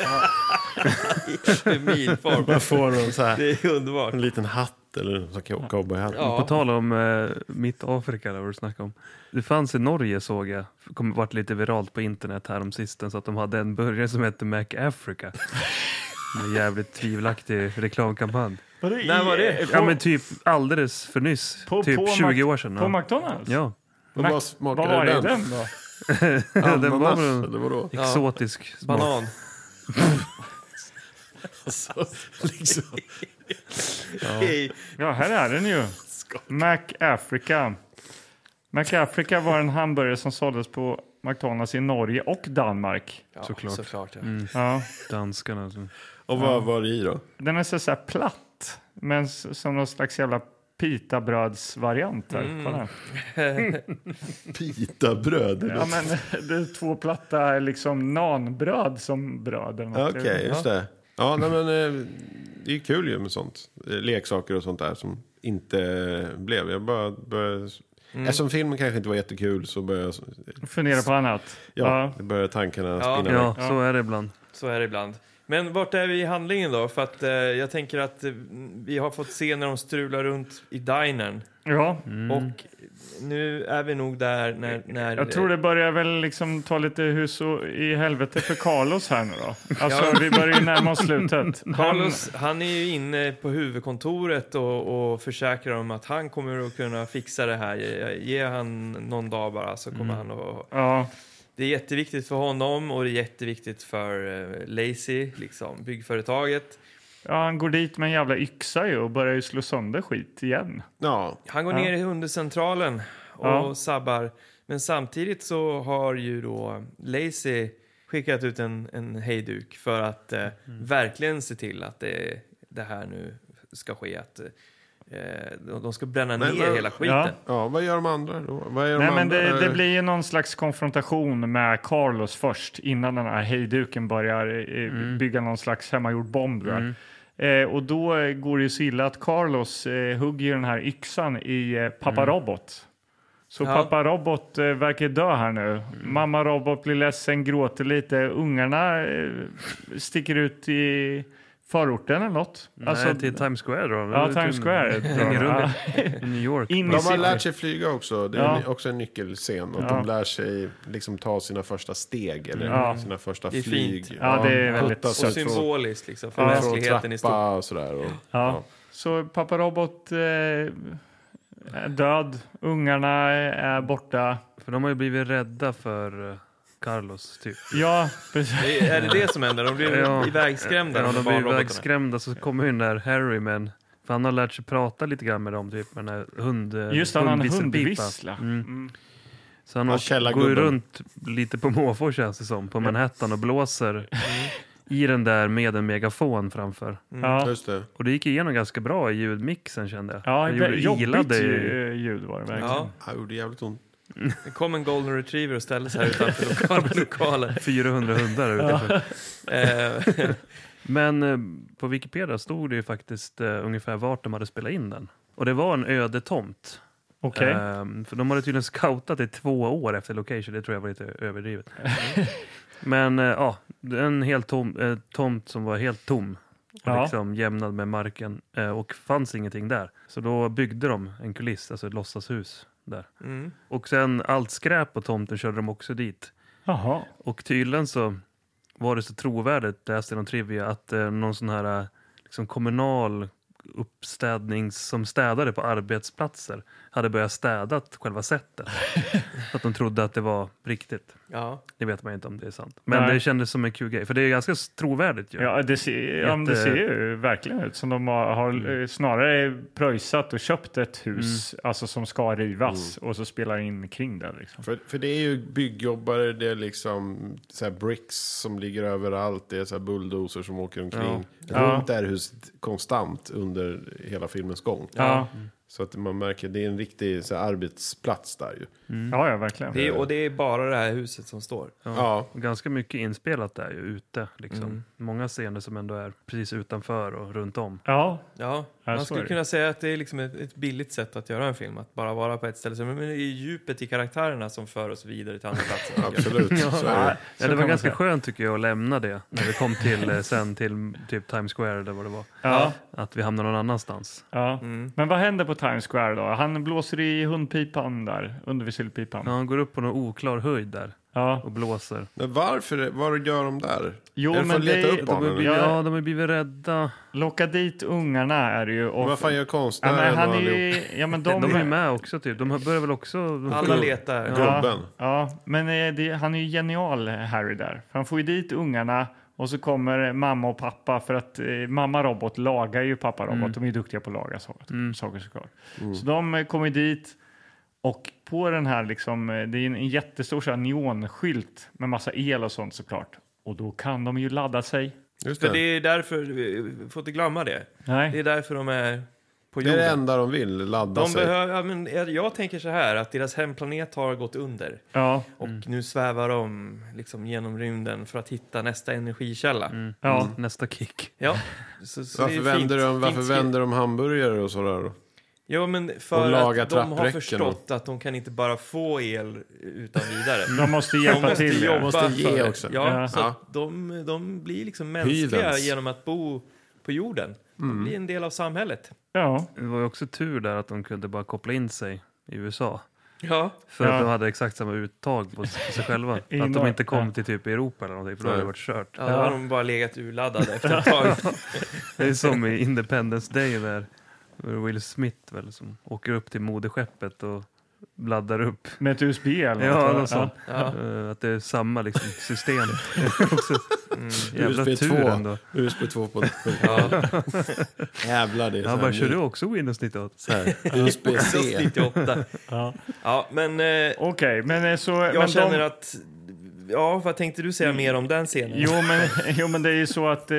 Happy Meal
[laughs]
form.
Man får någon så här,
Det är underbart.
en liten hatt eller en sån här cowboyhatt.
På tal om eh, mitt Afrika, där vad du snackade om. Det fanns i Norge såg jag, kom, vart lite viralt på internet här om sisten, så att de hade en burgare som hette Mac
[laughs]
Africa. En jävligt tvivelaktig reklamkampanj.
Var det i- När var det?
Ja men typ alldeles för nyss.
På-
typ
på Mac-
20 år sedan.
på
ja.
McDonald's?
Ja. [laughs]
Och vad Mac- smakade vad var det i den? den då?
den var
Ananas,
väl
eller vadå?
exotisk
Ja.
smak.
Banan.
Alltså, [laughs] liksom.
Ja. ja, här är den ju. Mac Africa. Mac Africa var en hamburgare som såldes på McDonalds i Norge och Danmark.
[laughs] Ja, Såklart. såklart, ja.
Mm.
Ja.
Danskarna. Alltså.
Och vad var det i då?
Den är så, så här platt, men s- som någon slags jävla pitabrödsvariant. Här.
Mm.
Kolla.
Pitabröd?
Ja, men det är två platta liksom nanbröd som bröd. eller
Ja,
något.
Okej, just det. Ja, nej, men, eh, det är ju kul ju med sånt. Eh, Leksaker och sånt där som inte eh, blev. Jag bara började...
Mm.
Eftersom filmen kanske inte var jättekul så började jag...
Fundera på annat.
Ja,
Ja.
det började tankarna
Ja.
spinna.
Ja, så
är det ibland.
Så är det ibland. Men vart är vi i handlingen då? För att eh, jag tänker att eh, vi har fått se när de strular runt i dinern.
Ja.
Och nu är vi nog där när... när
Mm. Jag tror det börjar väl liksom ta lite hus och i helvete för Carlos här nu då. Alltså vi börjar ju närma oss slutet. Han-
Carlos, han är ju inne på huvudkontoret och, och försäkrar om att han kommer att kunna fixa det här. Ge- Ge han någon dag bara så
Mm.
kommer han att...
Ja.
Det är jätteviktigt för honom och det är jätteviktigt för eh, Lazy, liksom, byggföretaget.
Ja, han går dit med en jävla yxa ju och börjar ju slå sönder skit igen.
Ja.
Han går ner i undercentralen och
Ja.
sabbar. Men samtidigt så har ju då Lazy skickat ut en, en hejduk för att eh, verkligen se till att det, det här nu ska ske. Att, eh, de de ska bränna
Men
ner
vad-
hela skiten.
Ja.
Ja, vad gör de andra då? Vad gör
Nej,
de
men
andra?
det, det blir ju någon slags konfrontation med Carlos först innan den här hejduken börjar eh, bygga någon slags hemmagjord bomb. där. Eh, och då eh, går det ju så illa att Carlos eh, hugger ju den här yxan i eh, pappa Robot. Så
Ja.
pappa Robot eh, verkar dö här nu. Mamma Robot blir ledsen, gråter lite. Ungarna eh, sticker ut i förorten eller något. Alltså,
Nej, Alltså, till Times Square då.
Ja, Times Square.
[laughs] Hänger runt i New York.
In i
de har
city.
lärt sig flyga också. Det är
Ja.
en- också en nyckelscen. Att
Ja.
de lär sig liksom ta sina första steg eller
Ja.
sina första
Det är
flyg.
fint. Ja, det är väldigt
puttas
sött.
ut från-
Symboliskt, liksom, för
från
mänskligheten i
trappa
stort.
Och sådär, och,
Ja. Så pappa Robot eh, är död, ungarna är borta.
För de har ju blivit rädda för eh, Carlos, typ.
Ja, precis.
Det- är det det som händer? De blir ivägskrämda,
Ja,
de
de
barnrobotarna.
blir ivägskrämda. Så kommer ju den där Harry, men för han har lärt sig prata lite grann med dem, typ med den här hund,
[laughs] Just det, han har en
hundvisselpipa.
hundvissla.
Mm.
Mm.
Så han
Ja,
åker,
källargubben.
går ju runt lite på måfå känns det som, på Manhattan och blåser
Mm.
i den där med en megafon framför.
Ja.
Just det.
Och det gick igenom ganska bra i ljudmixen kände jag.
Ja,
jag gjorde-
jobbigt
gillade ju.
ju- ljud var det verkligen.
Ja,
Han gjorde jävligt ont.
det kom en golden retriever och ställde sig här utanför [laughs] lokalen. lokalen.
400 hundar
[laughs]
utanför.
Eh, [laughs]
Men eh, på Wikipedia stod det ju faktiskt eh, ungefär vart de hade spelat in den. Och det var en öde tomt.
Okej.
Ehm, för de hade tydligen scoutat i två år efter location. Det tror jag var lite
[laughs]
överdrivet. Men eh, ja, en helt tom, eh, tomt som var helt tom. Och
Ja.
liksom jämnad med marken. Eh, och fanns ingenting där. Så då byggde de en kuliss, alltså ett låtsashus där.
mm.
Och sen allt skräp på tomten körde de också dit.
Jaha.
Och tydligen så var det så trovärdigt, läste jag någon trivia, att eh, någon sån här eh, liksom kommunal uppstädning som städade på arbetsplatser hade börjat städat
[laughs]
själva sättet. så att de trodde att det var riktigt.
ja.
Det vet man ju inte om det är sant. Men
Nej.
det kändes som en kul grej, för det är ganska s- trovärdigt ju.
Ja, det ser, ja, men det
Jätte-
ser ju verkligen ut som de har, har eh, snarare pröjsat och köpt ett hus alltså som ska rivas och så spelar in kring det. Liksom.
För, för det är ju byggjobbare, det är liksom så här bricks som ligger överallt, det är så här bulldozer som åker omkring. Runt det här huset konstant under hela filmens gång.
Ja.
Så att man märker, det är en riktig så här, arbetsplats där ju.
Ja, Mm. ja, verkligen.
Det är, och det är bara det här huset som står.
Ja,
Och ganska mycket inspelat där ju, ute. Liksom.
Mm.
Många scener som ändå är precis utanför och runt om.
Ja,
Ja,
Ja,
man
så är
skulle
det.
kunna säga att det är liksom ett, ett billigt sätt att göra en film, att bara vara på ett ställe. Så- Men det är djupet i karaktärerna som för oss vidare till andra platser. tycker
[laughs]
jag.
absolut. Så är det.
Ja, det
kan
var
man
ganska
säga.
skönt tycker jag att lämna det när vi kom till eh, sen till typ Times Square eller vad det var.
ja,
Att vi hamnade någon annanstans.
ja.
Mm.
Men vad händer på Times Square då? Han blåser i hundpipan där, under
Ja,
visselpipan.
han går upp på någon oklar höjd där
Ja.
och blåser.
Men varför, vad gör de där?
Jo,
är det för
men
att leta
det-
upp
de
De har
barnen?
blivit,
eller?
Ja.
ja, de har blivit rädda.
Locka dit ungarna är det ju. Och,
Vad fan gör
ja,
konstnären
men han
och
är,
allihop?
ju- ja, men
[laughs] De,
de,
är med också typ. De börjar väl också... De
Alla letar.
Ja.
Ja,
Gubben.
ja, men eh, det, han är ju genial Harry där. För han får ju dit ungarna och så kommer mamma och pappa för att eh, mamma robot lagar ju pappa robot. De är ju duktiga på att laga saker, saker såklart. Så de eh, kommer dit och på den här liksom, eh, det är en, en jättestor så här, neonskylt med massa el och sånt såklart. Och då kan de ju ladda sig.
Just det.
För det är därför, vi får inte glömma det. Det
Nej,
är därför de är på
Det är det
jorden.
enda de vill, ladda
De
sig.
behöver, ja, men jag- jag tänker så här, att deras hemplanet har gått under.
ja,
Och nu svävar de liksom genom rymden för att hitta nästa energikälla.
ja.
Nästa kick.
[laughs]
Ja, så, så
Varför,
det är fint,
vänder, de, varför
fint
vänder de hamburgare och sådär då?
Ja, men
Och
för
laga
att de har
trappräcken
förstått att de kan inte bara få el utan
[laughs]
vidare.
De måste hjälpa
måste
till.
jobba
ja.
Måste ge
för det.
också.
Ja,
Ja.
Så
Ja.
att de, de blir liksom mänskliga
Hyvens.
genom att bo på jorden.
Mm.
De blir en del av samhället.
Ja,
Det var ju också tur där att de kunde bara koppla in sig i USA.
Ja,
För
Ja.
att de hade exakt samma uttag på
[laughs]
sig själva.
I
Att de
norr,
inte kom
ja.
till typ Europa eller någonting, för då hade det varit kört.
ja, då har de bara legat urladdade efter
[laughs]
ett tag.
Det är som i Independence Day där Will Smith väl som åker upp till moderskeppet och laddar upp.
med ett USB eller
Ja,
något.
något sånt.
Ja.
Eh, Att det är samma liksom, system. Också. mm, Jävla
USB
tur
2.
ändå.
USB 2 på...
[laughs] Ja,
Jävlar, det är
Han bara, kör du
upp.
också Windows 98?
[laughs] Windows
USB-C.
98.
Ja.
Ja, men eh, jag
Okej, men eh, så... Jag men
känner
de, Mm.
att... Ja, vad tänkte du säga mer om den scenen?
Jo men, [laughs] jo, men det är ju så att eh,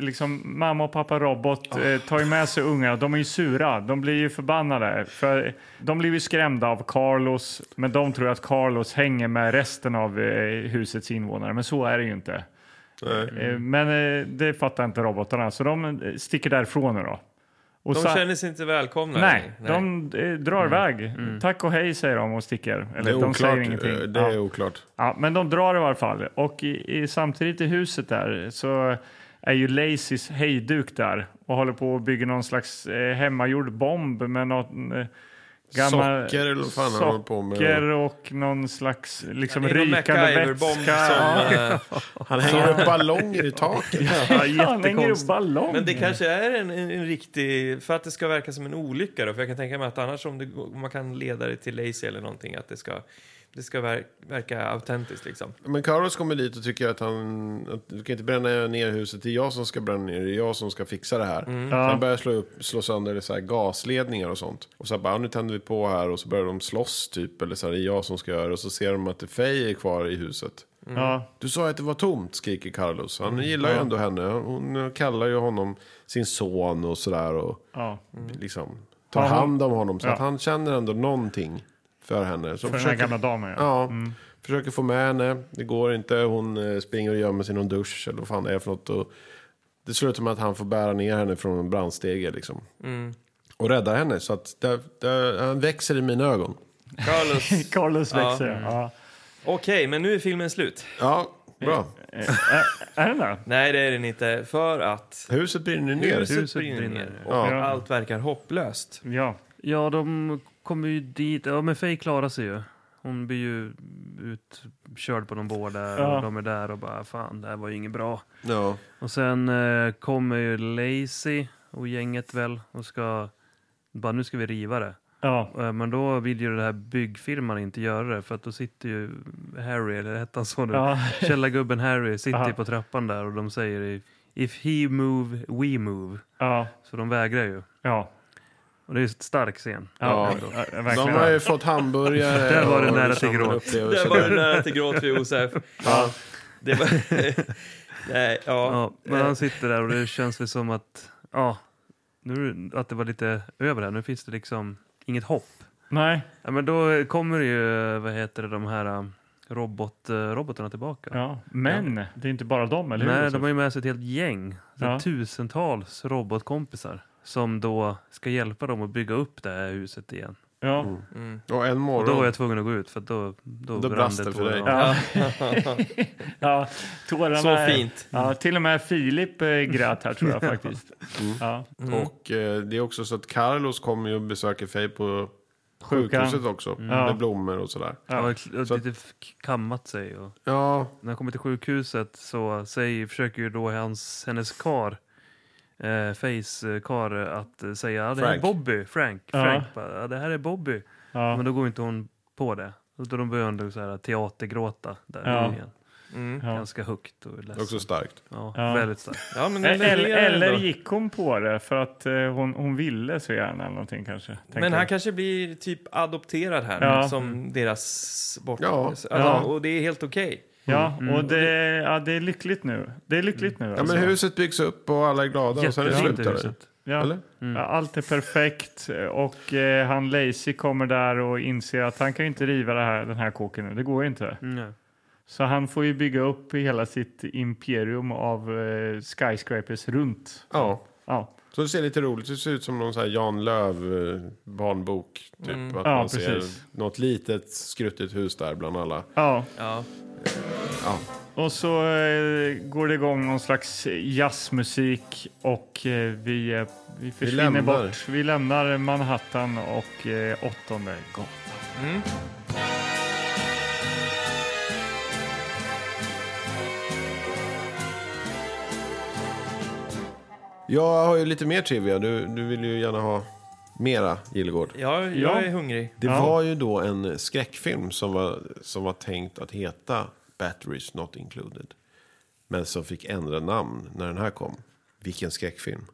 liksom, mamma och pappa Robot eh, tar ju med sig ungarna. De är ju sura. De blir ju förbannade. För de blir ju skrämda av Carlos, men de tror att Carlos hänger med resten av eh, husets invånare. Men så är det ju inte. Eh, men eh, det fattar inte robotarna, så de eh, sticker därifrån nu då. Och
De
sa-
känner sig inte välkomna.
Nej, de eh, drar iväg. Tack och hej säger de och sticker.
Det
Eller
är
de säger
oklart.
ingenting.
eh, Det
Ja.
är oklart.
Ja, men de drar i varje fall. Och i, i, samtidigt i huset där så är ju Lacys hejduk där och håller på att bygga någon slags eh, hemmagjord bomb med någon eh, gammal...
Socker eller vad fan han håller på med.
Socker och någon slags liksom
Det är någon
rykande
MacGyver-bomb
vätska.
som... eh,
Han hänger upp ballonger i taket.
Ja, Han hänger upp
jättekonstigt.
ballong.
Men det kanske är en, en, en riktig, för att det ska verka som en olycka då, för jag kan tänka mig att annars om, det, går- om man kan leda det till Lazy eller någonting, att det ska Det ska ver- verka autentiskt liksom.
Men Carlos kommer dit och tycker att han... Att du kan inte bränna ner huset, det är jag som ska bränna ner det, det är jag som ska fixa det här.
Mm.
Ja.
Sen börjar jag slå, upp, slå sönder så här gasledningar och sånt. Och så här bara, nu tänder vi på här och så börjar de slåss typ, eller så här, det är jag som ska göra det. Och så ser de att det Fej är kvar i huset.
Ja.
Du sa ju att det var tomt, skriker Carlos. Han
Mm.
gillar ju ändå henne. Hon kallar ju honom sin son och sådär. Och
Ja.
liksom tar
Mm. Ja, hon-
hand om honom. Så
Ja.
att han känner ändå någonting för henne. Så
För den här gamla damen, ja.
ja. Mm. Försöker få med henne. Det går inte. Hon eh, springer och gömmer sig i någon dusch. Eller vad fan det är för något. Och det slutar med att han får bära ner henne från en brandstege liksom. Och rädda henne. Så att där, där, han växer i mina ögon.
[laughs] [laughs]
Carlos.
Carlos
Ja.
växer. Ja.
Okej, men nu är filmen slut.
Ja, bra.
Är den där?
Nej, det är den inte. För att
Huset brinner ner.
huset brinner ner och
Ja.
allt verkar hopplöst.
Ja.
Ja, de kommer ju dit. Ja, men Faye klarar sig ju. Hon blir ju utkörd på någon båt där
Ja.
och de är där och bara fan, det här var ju inget bra.
Ja.
Och sen eh, kommer ju Lazy och gänget väl och ska bara nu ska vi riva det.
Ja.
Eh, Men då vill ju den här byggfirman inte göra det för att då sitter ju Harry, eller hette han så nu?
Ja.
Källargubben Harry sitter ju
Aha.
på trappan där och de säger i- If he move, we move.
Ja.
Så de vägrar ju.
Ja.
Och det är ju en stark scen.
Ja. ja.
De
Verkligen.
har ju fått hamburgare.
Där var det
och
nära
liksom
till gråt.
upplevelser.
Där var det nära till gråt för Josef. Ja. Det var... [laughs] Nej, ja.
Ja,
Eh.
men han sitter där och det känns väl som att, ja, nu, att det var lite över här. Nu finns det liksom inget hopp.
Nej.
Ja, men då kommer det ju, vad heter det, de här eh, robot, eh, robotarna tillbaka.
Ja. Men det är inte bara dem, eller hur?
Nej,
Josef?
de har ju med sig ett helt gäng. Så
Ja.
Tusentals robotkompisar som då ska hjälpa dem att bygga upp det här huset igen.
Ja.
Och en
Och då var
morgon.
jag tvungen att gå ut för att då, då,
Då
brann
brast det för
tårar.
dig.
Ja.
Ja.
[laughs]
ja. Tårarna...
Så fint.
Ja, till och med Filip eh, grät här, tror jag faktiskt. Ja.
Och eh, det är också så att Carlos kommer ju och besöker Faye på sjukhuset också.
Ja.
Med blommor och sådär.
Ja, och- och
Så att-
lite f- kammat sig. Och
Ja,
när han kommer till sjukhuset så säger, försöker ju då hans, hennes kar eh, face eh, kar eh, att eh, säga "Ja, det här är
Frank.
Bobby, Frank,
Ja.
Frank, bara, "Ja, det här är Bobby.
Ja.
Men då går inte hon på det. Och Då börjar hon så här teatergråta där
Ja.
igen.
Mm.
Ja.
Ganska högt och
det är
ledsen.
också starkt.
Ja,
Ja.
Väldigt starkt.
Ja, men den
Eller,
levererar
eller
ändå.
gick hon på det för att eh, hon, hon ville så gärna eller någonting kanske?
Men han kanske blir typ adopterad här
Ja. Mm.
som deras bort.
Ja.
Alltså,
Ja.
Och det är helt okej.
Ja, och det, ja, det är lyckligt nu. Det är lyckligt nu.
Mm.
alltså.
Ja, men huset byggs upp och alla är glada och sen är det slut
Jättefint i
där.
huset.
Ja.
Eller?
Ja, Allt är perfekt och eh, han Lacey kommer där och inser att han kan ju inte riva det här, den här kåken nu. Det går ju inte.
Mm.
Så han får ju bygga upp hela sitt imperium av eh, skyscrapers runt.
Ja.
Ja,
Så det ser lite roligt ut. Det ser ut som någon så här Jan Löv eh, barnbok. Typ. Att
Ja,
man ser
precis.
något litet skruttigt hus där bland alla.
ja.
Ja.
Och så eh, går det igång någon slags jazzmusik och eh, vi, eh, vi försvinner
lämnar.
bort. Vi lämnar Manhattan och eh, åttonde gatan.
Jag har ju lite mer trivia. Du, du vill ju gärna ha mera, Gillegård.
Ja, jag
Ja.
är hungrig.
Det
Ja.
var ju då en skräckfilm som var, som var tänkt att heta Batteries Not Included. Men som fick ändra namn när den här kom. Vilken skräckfilm. Runt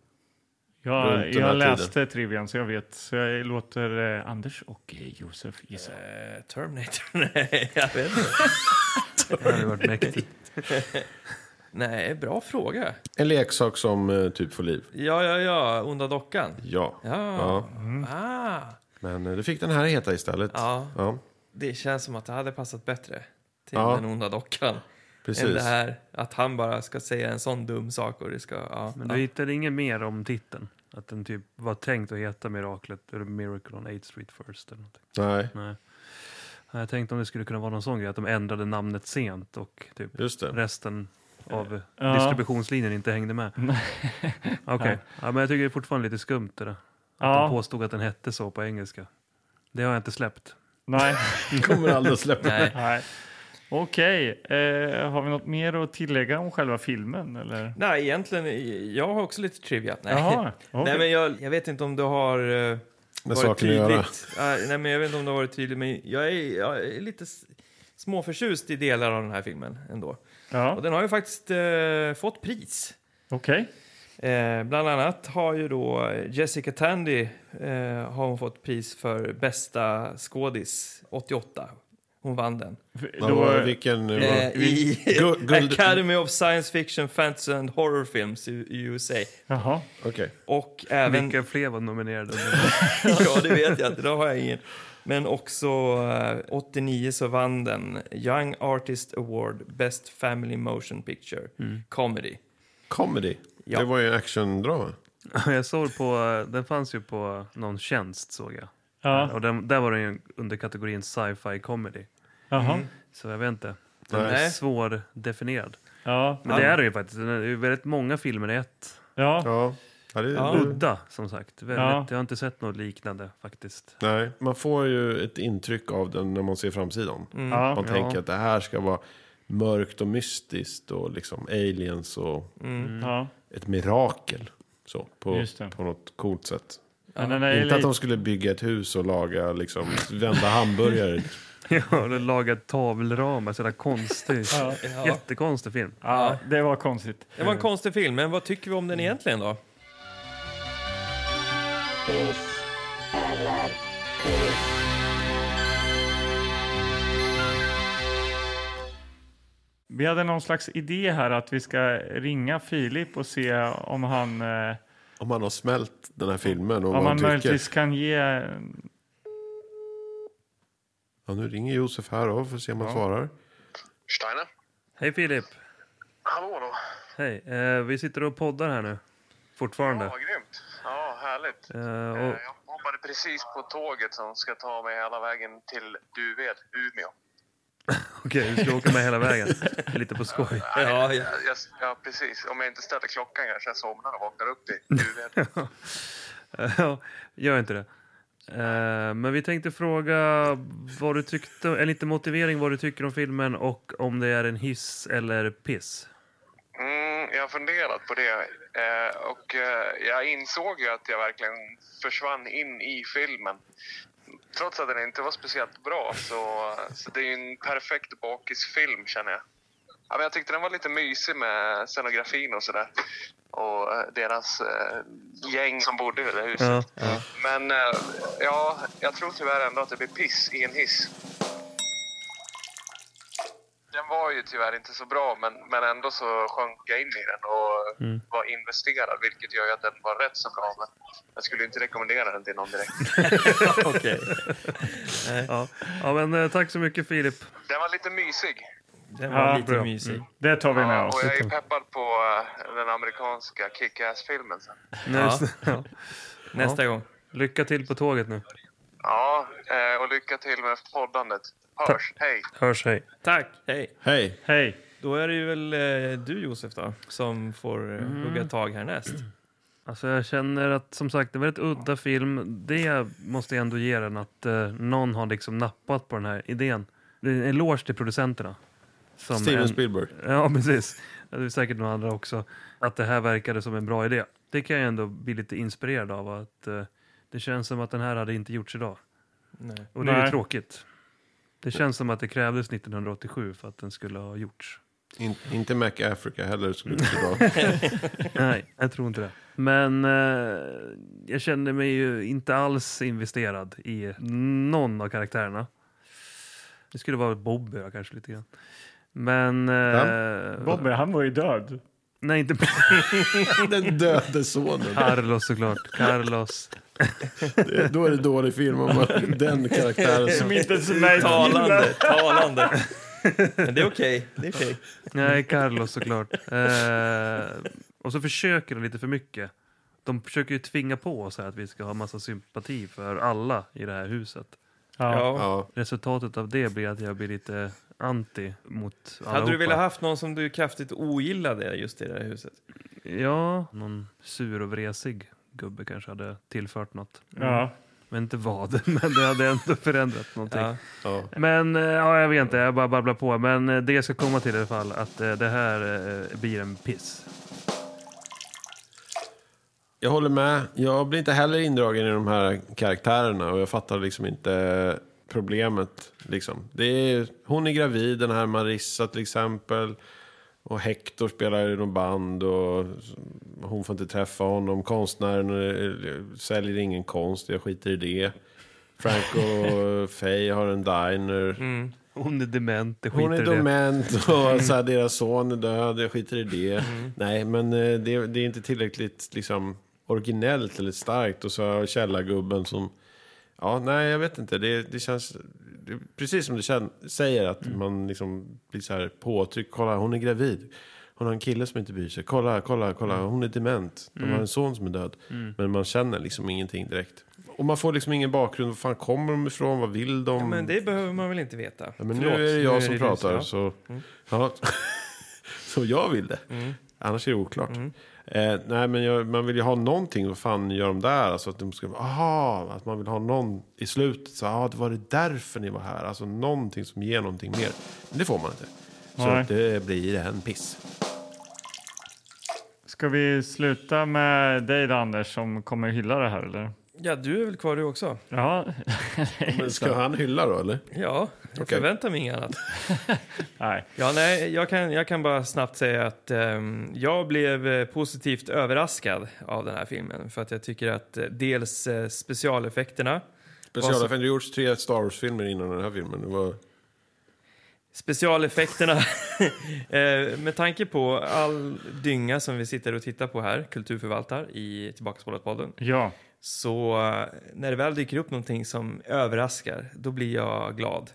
Jag,
den här
jag läste trivian så jag vet. Så jag låter eh, Anders och eh, Josef gissa.
Eh, Terminator? [laughs] Nej, jag vet inte.
Det hade varit mäktigt.
Nej, bra fråga.
En leksak som eh, typ får liv.
Ja, ja, ja. Onda dockan.
Ja.
Ja.
Ja.
Ah.
Men eh, det fick den här heta istället.
Ja,
Ja,
det känns som att det hade passat bättre till
Ja.
den onda dockan. Än det
precis.
här att han bara ska säga en sån dum sak och det ska... Ja,
Men
ja.
du hittade inget mer om titeln? Att den typ var tänkt att heta Miraklet eller Miracle on 8th Street First eller någonting.
Nej,
Nej. Nej, Jag tänkte om det skulle kunna vara någon sån grej att de ändrade namnet sent och typ
just det.
resten av
Ja.
distributionslinjen inte hängde med. [laughs] Okej, ja, men jag tycker det är fortfarande lite skumt det där. Att
Ja.
de påstod att den hette så på engelska. Det har jag inte släppt.
Nej.
[laughs] Kommer aldrig att släppa.
Nej.
[laughs] Nej. Okej, eh, har vi något mer att tillägga om själva filmen? Eller?
Nej, egentligen, jag har också lite trivia. [laughs] Nej,
Jaha, okej.
Nej men jag, jag vet inte om du har eh,
med
varit
saken att göra.
Ja, nej, men jag vet inte om det har varit tydligt, men jag är, jag är lite s- småförtjust i delar av den här filmen ändå. Och den har ju faktiskt eh, fått pris.
Okej.
Eh, bland annat har ju då Jessica Tandy eh, har hon fått pris för bästa skådis 88. Hon vann den.
Vad var det? Vilken nu? var-
Eh,
[laughs]
I
Guld- guld-
Academy of Science Fiction, Fantasy and Horror Films i, i USA.
Jaha.
Okej.
Och även...
Vilka fler var nominerade?
[laughs] ja, det vet jag inte. Det har jag ingen. Men också eh, 89 så vann den Young Artist Award Best Family Motion Picture Comedy.
Comedy.
Ja.
Det var ju en actiondrama.
[laughs] jag såg på, eh, den fanns ju på någon tjänst såg jag.
Ja.
Och den, där var den ju under kategorin sci-fi comedy.
Jaha.
Så jag vet inte. Den är
Nej.
svårdefinierad.
Ja.
Men det är den ju faktiskt. Den är ju väldigt många filmer i ett.
Ja.
Ja. Ja, det,
Ja.
det-
Udda som sagt. Väldigt,
Ja.
Jag har inte sett något liknande faktiskt.
[laughs] Nej, man får ju ett intryck av den när man ser framsidan.
Mm.
Ja.
Man tänker att det här ska vara mörkt och mystiskt och liksom aliens och
Mm.
ja.
ett mirakel. Så, på,
Just det.
på något coolt sätt.
Men den är ju
Inte att
lite-
de skulle bygga ett hus och laga, liksom,
[laughs]
vända hamburgare.
Ja, och den lagat tavelramar. Så jävla konstig. Jättekonstig film.
Ja, det var konstigt.
Det var en konstig film, men vad tycker vi om den egentligen då?
Vi hade någon slags idé här att vi ska ringa Filip och se om han, eh,
Om man har smält den här filmen och
om han
vad han tycker.
möjligtvis kan ge...
Ja, nu ringer Josef här då, för att se om han svarar.
Steiner?
Hej Filip.
Hallå, hallå.
Hej. Eh, vi sitter och poddar här nu. Fortfarande.
Ja, vad grymt. Ja, härligt.
Eh,
Eh,
och,
Jag hoppade precis på tåget som ska ta mig hela vägen till Duved, Umeå.
[laughs] okej, vi ska åka med hela vägen. Lite på skoj.
Ja, ja.
Jag, ja, precis. Om jag inte ställer klockan kanske jag somnar och vaknar upp i Duved.
Ja, [laughs] Gör inte det. Eh, men vi tänkte fråga vad du tyckte, eller inte motivering, vad du tycker om filmen och om det är en hiss eller piss.
Mm, jag har funderat på det eh, och eh, jag insåg ju att jag verkligen försvann in i filmen. Trots att den inte var speciellt bra så, så det är ju en perfekt bakisfilm känner jag. Ja, men jag tyckte den var lite mysig med scenografin och sådär. Och eh, deras eh, gäng som bodde i det där huset.
Ja,
Men eh, ja, jag tror tyvärr ändå att det blir piss i en hiss. Den var ju tyvärr inte så bra, men, men ändå så sjönk jag in i den och var investerad, vilket gör ju att den var rätt så bra. Men jag skulle inte rekommendera den till någon direkt.
Okej.
ja. ja men eh, tack så mycket Filip.
Den var lite mysig.
[laughs] Den var
Ja,
lite
bra.
mysig.
Det tar vi med
Ja,
oss.
och jag är ju peppad på eh, den amerikanska Kick-Ass-filmen sen.
Ja. [laughs] Ja.
Nästa gång.
Lycka till på tåget nu.
Ja, eh, och lycka till med poddandet. Hörs, hej!
Hörs, hej.
Tack, hej.
Hej!
Hej.
Då är det ju väl eh, du Josef då, som får eh, hugga tag härnäst.
Alltså jag känner att som sagt det är en väldigt udda film. Det måste jag ändå ge den att eh, någon har liksom nappat på den här idén. Det är en eloge till producenterna. Som
Steven
en-
Spielberg.
[laughs] Ja, precis. Det är säkert några andra också. Att det här verkade som en bra idé. Det kan jag ändå bli lite inspirerad av. Att eh, Det känns som att den här hade inte gjorts idag.
Nej.
Och det är ju
Nej.
tråkigt. Det känns som att det krävdes 1987 för att den skulle
[laughs]
ha gjorts.
In, inte Mac Africa heller skulle det bli bra.
Nej, jag tror inte det. Men eh, jag kände mig ju inte alls investerad i någon av karaktärerna. Det skulle vara Bobby då, kanske lite grann. Men... Eh,
Bobby, han var ju död.
Nej,
[laughs]
inte [laughs]
Den döde sonen.
Carlos såklart. Carlos.
Det- Då är det dålig film om man- den karaktären som...
Som inte ens
[laughs]
är med i
Talande, talande. Men det är okej. Det är okej.
Nej, Carlos såklart. Eh, och så försöker de lite för mycket. De försöker ju tvinga på oss här att vi ska ha massa sympati för alla i det här huset.
Ja.
Ja.
Ja,
Resultatet av det blir att jag blir lite anti mot alla.
Hade du velat haft någon som du kraftigt ogillade just i det här huset?
Ja, någon sur och vresig gubbe kanske hade tillfört något.
Ja.
Men inte vad, [laughs] men det hade ändå förändrat någonting.
Ja.
ja.
Men eh, ja, jag vet inte, jag bara babblar på. Men eh, det jag ska komma till i alla fall, att eh, det här eh, blir en piss.
Jag håller med. Jag blir inte heller indragen i de här karaktärerna och jag fattar liksom inte problemet. Liksom. Det är, hon är gravid, den här Marissa till exempel. Och Hector spelar i någon band och hon får inte träffa honom. Konstnären eh, säljer ingen konst, jag skiter i det. Frank och Faye har en diner.
Hon är dement, det skiter
Hon är
i det.
dement och så här, deras son är död, jag skiter i det.
Mm.
Nej, men eh, det, det är inte tillräckligt liksom, originellt eller starkt. Och så har källargubben som... Ja, nej, jag vet inte. Det, det känns... Det, är precis som du känn, säger, att
Mm.
man liksom blir så här påtryckt. Kolla, hon är gravid. Hon har en kille som inte bryr sig. Kolla, kolla, kolla. Hon är dement. De har
Mm.
en son som är död.
Mm.
Men man känner liksom ingenting direkt. Och man får liksom ingen bakgrund. Var fan kommer de ifrån? Vad vill de?
Ja, men det behöver man väl inte veta.
Ja, men
Förlåt,
nu är det jag som
du
pratar,
ja.
så...
Mm.
Ja. [laughs] så jag vill det. Annars är det oklart. Eh, nej, men jag, man vill ju ha någonting. Vad fan gör de där? Alltså att de ska... Aha! Att man vill ha någon i slutet. Så, ah, det var det därför ni var här. Alltså någonting som ger någonting mer. Men det får man inte. Så
Nej.
att det blir en piss. [laughs]
Ska vi sluta med dig då, Anders, som kommer hylla det här, eller?
Ja, du är väl kvar du också?
Ja.
Men ska han hylla då, eller?
Ja, jag
Okej.
förväntar mig inget annat.
nej.
Ja, nej, jag, kan, jag kan bara snabbt säga att ehm, jag blev eh, positivt överraskad av den här filmen. För att jag tycker att eh, dels eh, specialeffekterna.
Specialeffekter. Det har gjorts tre Star Wars-filmer innan den här filmen. Det var...
Specialeffekterna, [laughs] eh, med tanke på all dynga som vi sitter och tittar på här, kulturförvaltar i Tillbakaspolat-podden.
Ja.
Så eh, när det väl dyker upp någonting som överraskar, då blir jag glad.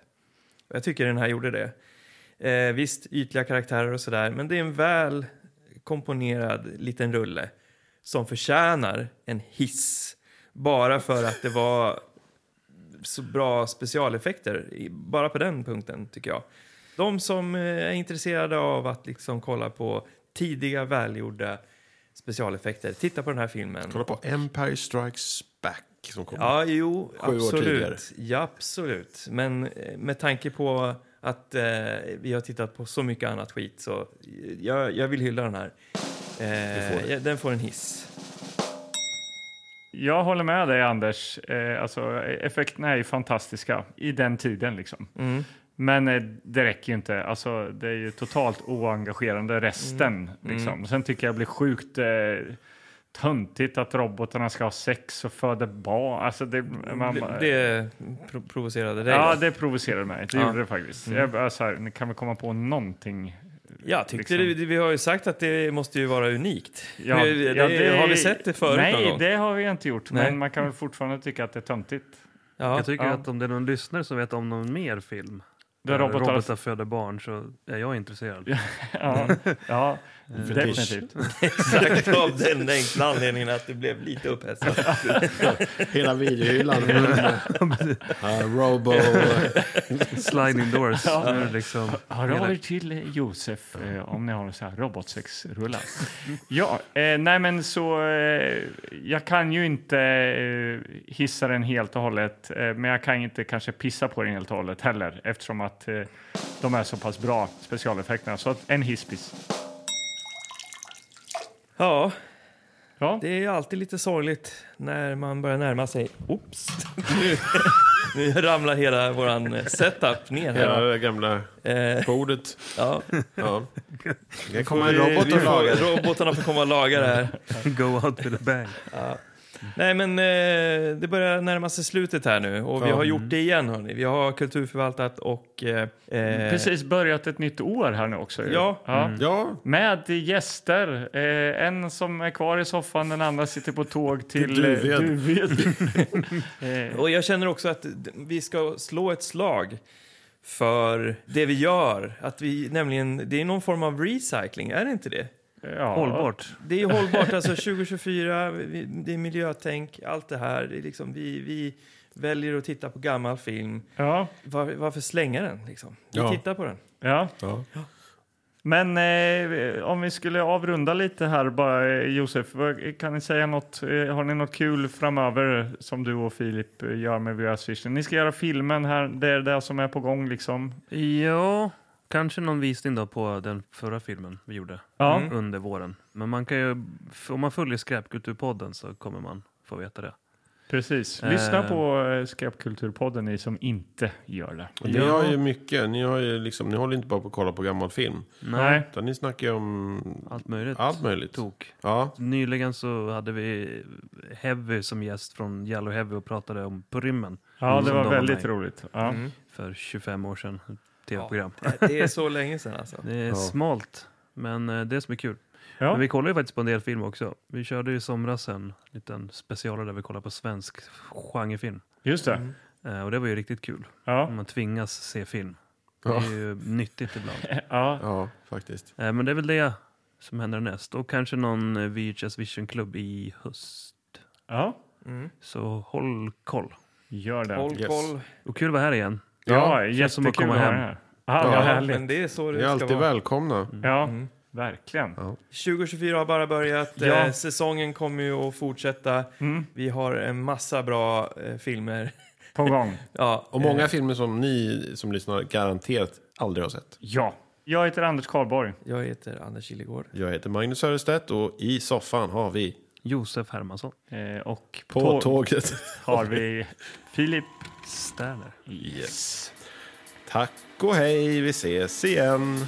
Och Jag tycker den här gjorde det. Eh, visst, ytliga karaktärer och sådär, men det är en väl komponerad liten rulle som förtjänar en hiss. Bara för att det var så bra specialeffekter, i- bara på den punkten tycker jag. De som eh, är intresserade av att liksom kolla på tidiga välgjorda specialeffekter, titta på den här filmen.
Kolla på Empire Strikes Back som kom.
Ja, jo,
Sju år tidigare.
absolut. Ja, absolut. Men eh, med tanke på att eh, vi har tittat på så mycket annat skit så eh, jag, jag vill hylla den här. Eh,
Du får det.
ja, den får en hiss.
Jag håller med dig, Anders. Eh, alltså, effekterna är ju fantastiska i den tiden. liksom.
Mm.
Men eh, det räcker ju inte. Alltså, det är ju totalt oengagerande resten.
Mm.
Liksom.
Mm.
Sen tycker jag det blir sjukt eh, töntigt att robotarna ska ha sex och föda barn. Alltså, det, man,
Det- det pro provocerade dig?
eh. ja,
då?
det provocerade mig. Det
Ja.
gjorde det faktiskt.
Mm.
Jag bara, så här, kan vi komma på någonting?
Jag tyckte det, det, vi har ju sagt att det måste ju vara unikt.
liksom. Ja,
det, det,
ja, det-
har vi sett det förut
Nej,
någon gång?
det har vi inte gjort.
Nej.
Men man kan väl fortfarande tycka att det är
[laughs]
töntigt.
jag tycker
Ja.
att om det är någon lyssnare som vet om någon mer film
Där
där
robotar-
robotar, föder barn så är jag intresserad.
ja, ja,
Mm.
definitivt.
Exakt [laughs] av den enkla anledningen att det blev lite upphetsat.
Hela [laughs] videohyllan. uh, Robo.
Sliding
[laughs]
doors.
Ja.
Nu är det liksom
Hör av
hela-
er till eh, Josef eh, om ni har så här robotsexrullar. ja, eh, nej men så eh, jag kan ju inte eh, hissa den helt och hållet, eh, men jag kan ju inte kanske pissa på den helt och hållet heller eftersom att eh, de är så pass bra specialeffekterna. Så att en hisspiss.
Ja.
ja,
det är alltid lite sorgligt när man börjar närma sig... Oops! Nu, [laughs] nu ramlar hela vår setup ner
Hela
här.
det gamla
Eh,
bordet.
[laughs] ja.
Ja. Det kan
Får
komma en
vi-
robot
vi
och
får-
laga det.
Robotarna får komma och laga det här.
[laughs] Go out with a bang.
Ja. Nej, men eh, det börjar närma sig slutet här nu och vi
Ja.
har gjort det igen. Hörni. Vi har kulturförvaltat och... Eh, eh,
Mm, precis börjat ett nytt år här nu också. ju.
Ja.
ja.
Ja,
Med gäster. Eh, en som är kvar i soffan, den andra sitter på tåg till
Till Duved.
eh, Duved. eh,
Och jag känner också att d- vi ska slå ett slag för det vi gör. Att vi, nämligen, det är någon form av recycling, är det inte det?
ja.
Hållbart.
Det är hållbart, alltså 2024, vi- det är miljötänk, allt det här. Det är liksom, vi, vi väljer att titta på gammal film.
Ja,
Var, varför slänga den? Liksom? Vi
Ja.
tittar på den.
ja.
ja.
Men eh, om vi skulle avrunda lite här bara, eh, Josef. vad- Kan ni säga något? Eh, har ni något kul framöver som du och Filip eh, gör med VR Swishen? Ni ska göra filmen här. Det är det som är på gång liksom.
Ja, kanske någon visning då på den förra filmen vi gjorde
Ja.
mm, under våren. Men man kan ju, f- om man följer Skräpkulturpodden så kommer man få veta det.
Precis.
Eh,
Lyssna på eh, Skräpkulturpodden, ni som inte gör det.
Och Ni har ju mycket. Ni, har ju liksom, ni håller inte bara på att kolla på gammal film.
Nej.
Utan ni snackar ju om
allt möjligt.
Allt möjligt.
Tok.
Ja.
Nyligen så hade vi Heavy som gäst från Yellow Heavy och pratade om på rymmen.
Ja, det
Som
var
de
väldigt
med i
roligt. Ja.
Mm.
För 25 år sedan, ett tv-program.
Ja, det- det är så länge sedan alltså.
Det är
Ja.
smalt, men eh, det som är kul.
Ja.
Men vi kollar ju faktiskt på en del film också. Vi körde ju i somras en liten specialare där vi kollade på svensk genrefilm.
Just det.
Eh, Och det var ju riktigt kul. Man tvingas se film. Det
Ja.
är ju nyttigt ibland.
[laughs] ja.
ja, faktiskt.
Eh, Men det är väl det som händer näst. Och kanske någon eh, VHS Vision Club i höst.
Ja.
Mm.
Så håll koll.
Gör det.
Håll Yes. koll.
Och kul att vara här igen.
Ja,
Känns som att
jättekul
komma
att vara
hem.
här. Ja, vad härligt.
Men det är så det
Ni är
ska
alltid
vara. Mm.
välkomna.
Ja, verkligen.
2024 har bara börjat.
Ja.
Eh, säsongen kommer ju att fortsätta.
Mm.
Vi har en massa bra eh, filmer.
På gång.
ja,
Och många filmer som ni som lyssnar garanterat aldrig har sett.
Ja. Jag heter Anders Karlborg.
Jag heter Anders Killegård.
Jag heter Magnus Örestedt och i soffan har vi...
Josef Hermansson.
Eh, och
På
tå-
tåget.
har vi Filip
Sterner.
Yes. Tack och hej, vi ses igen.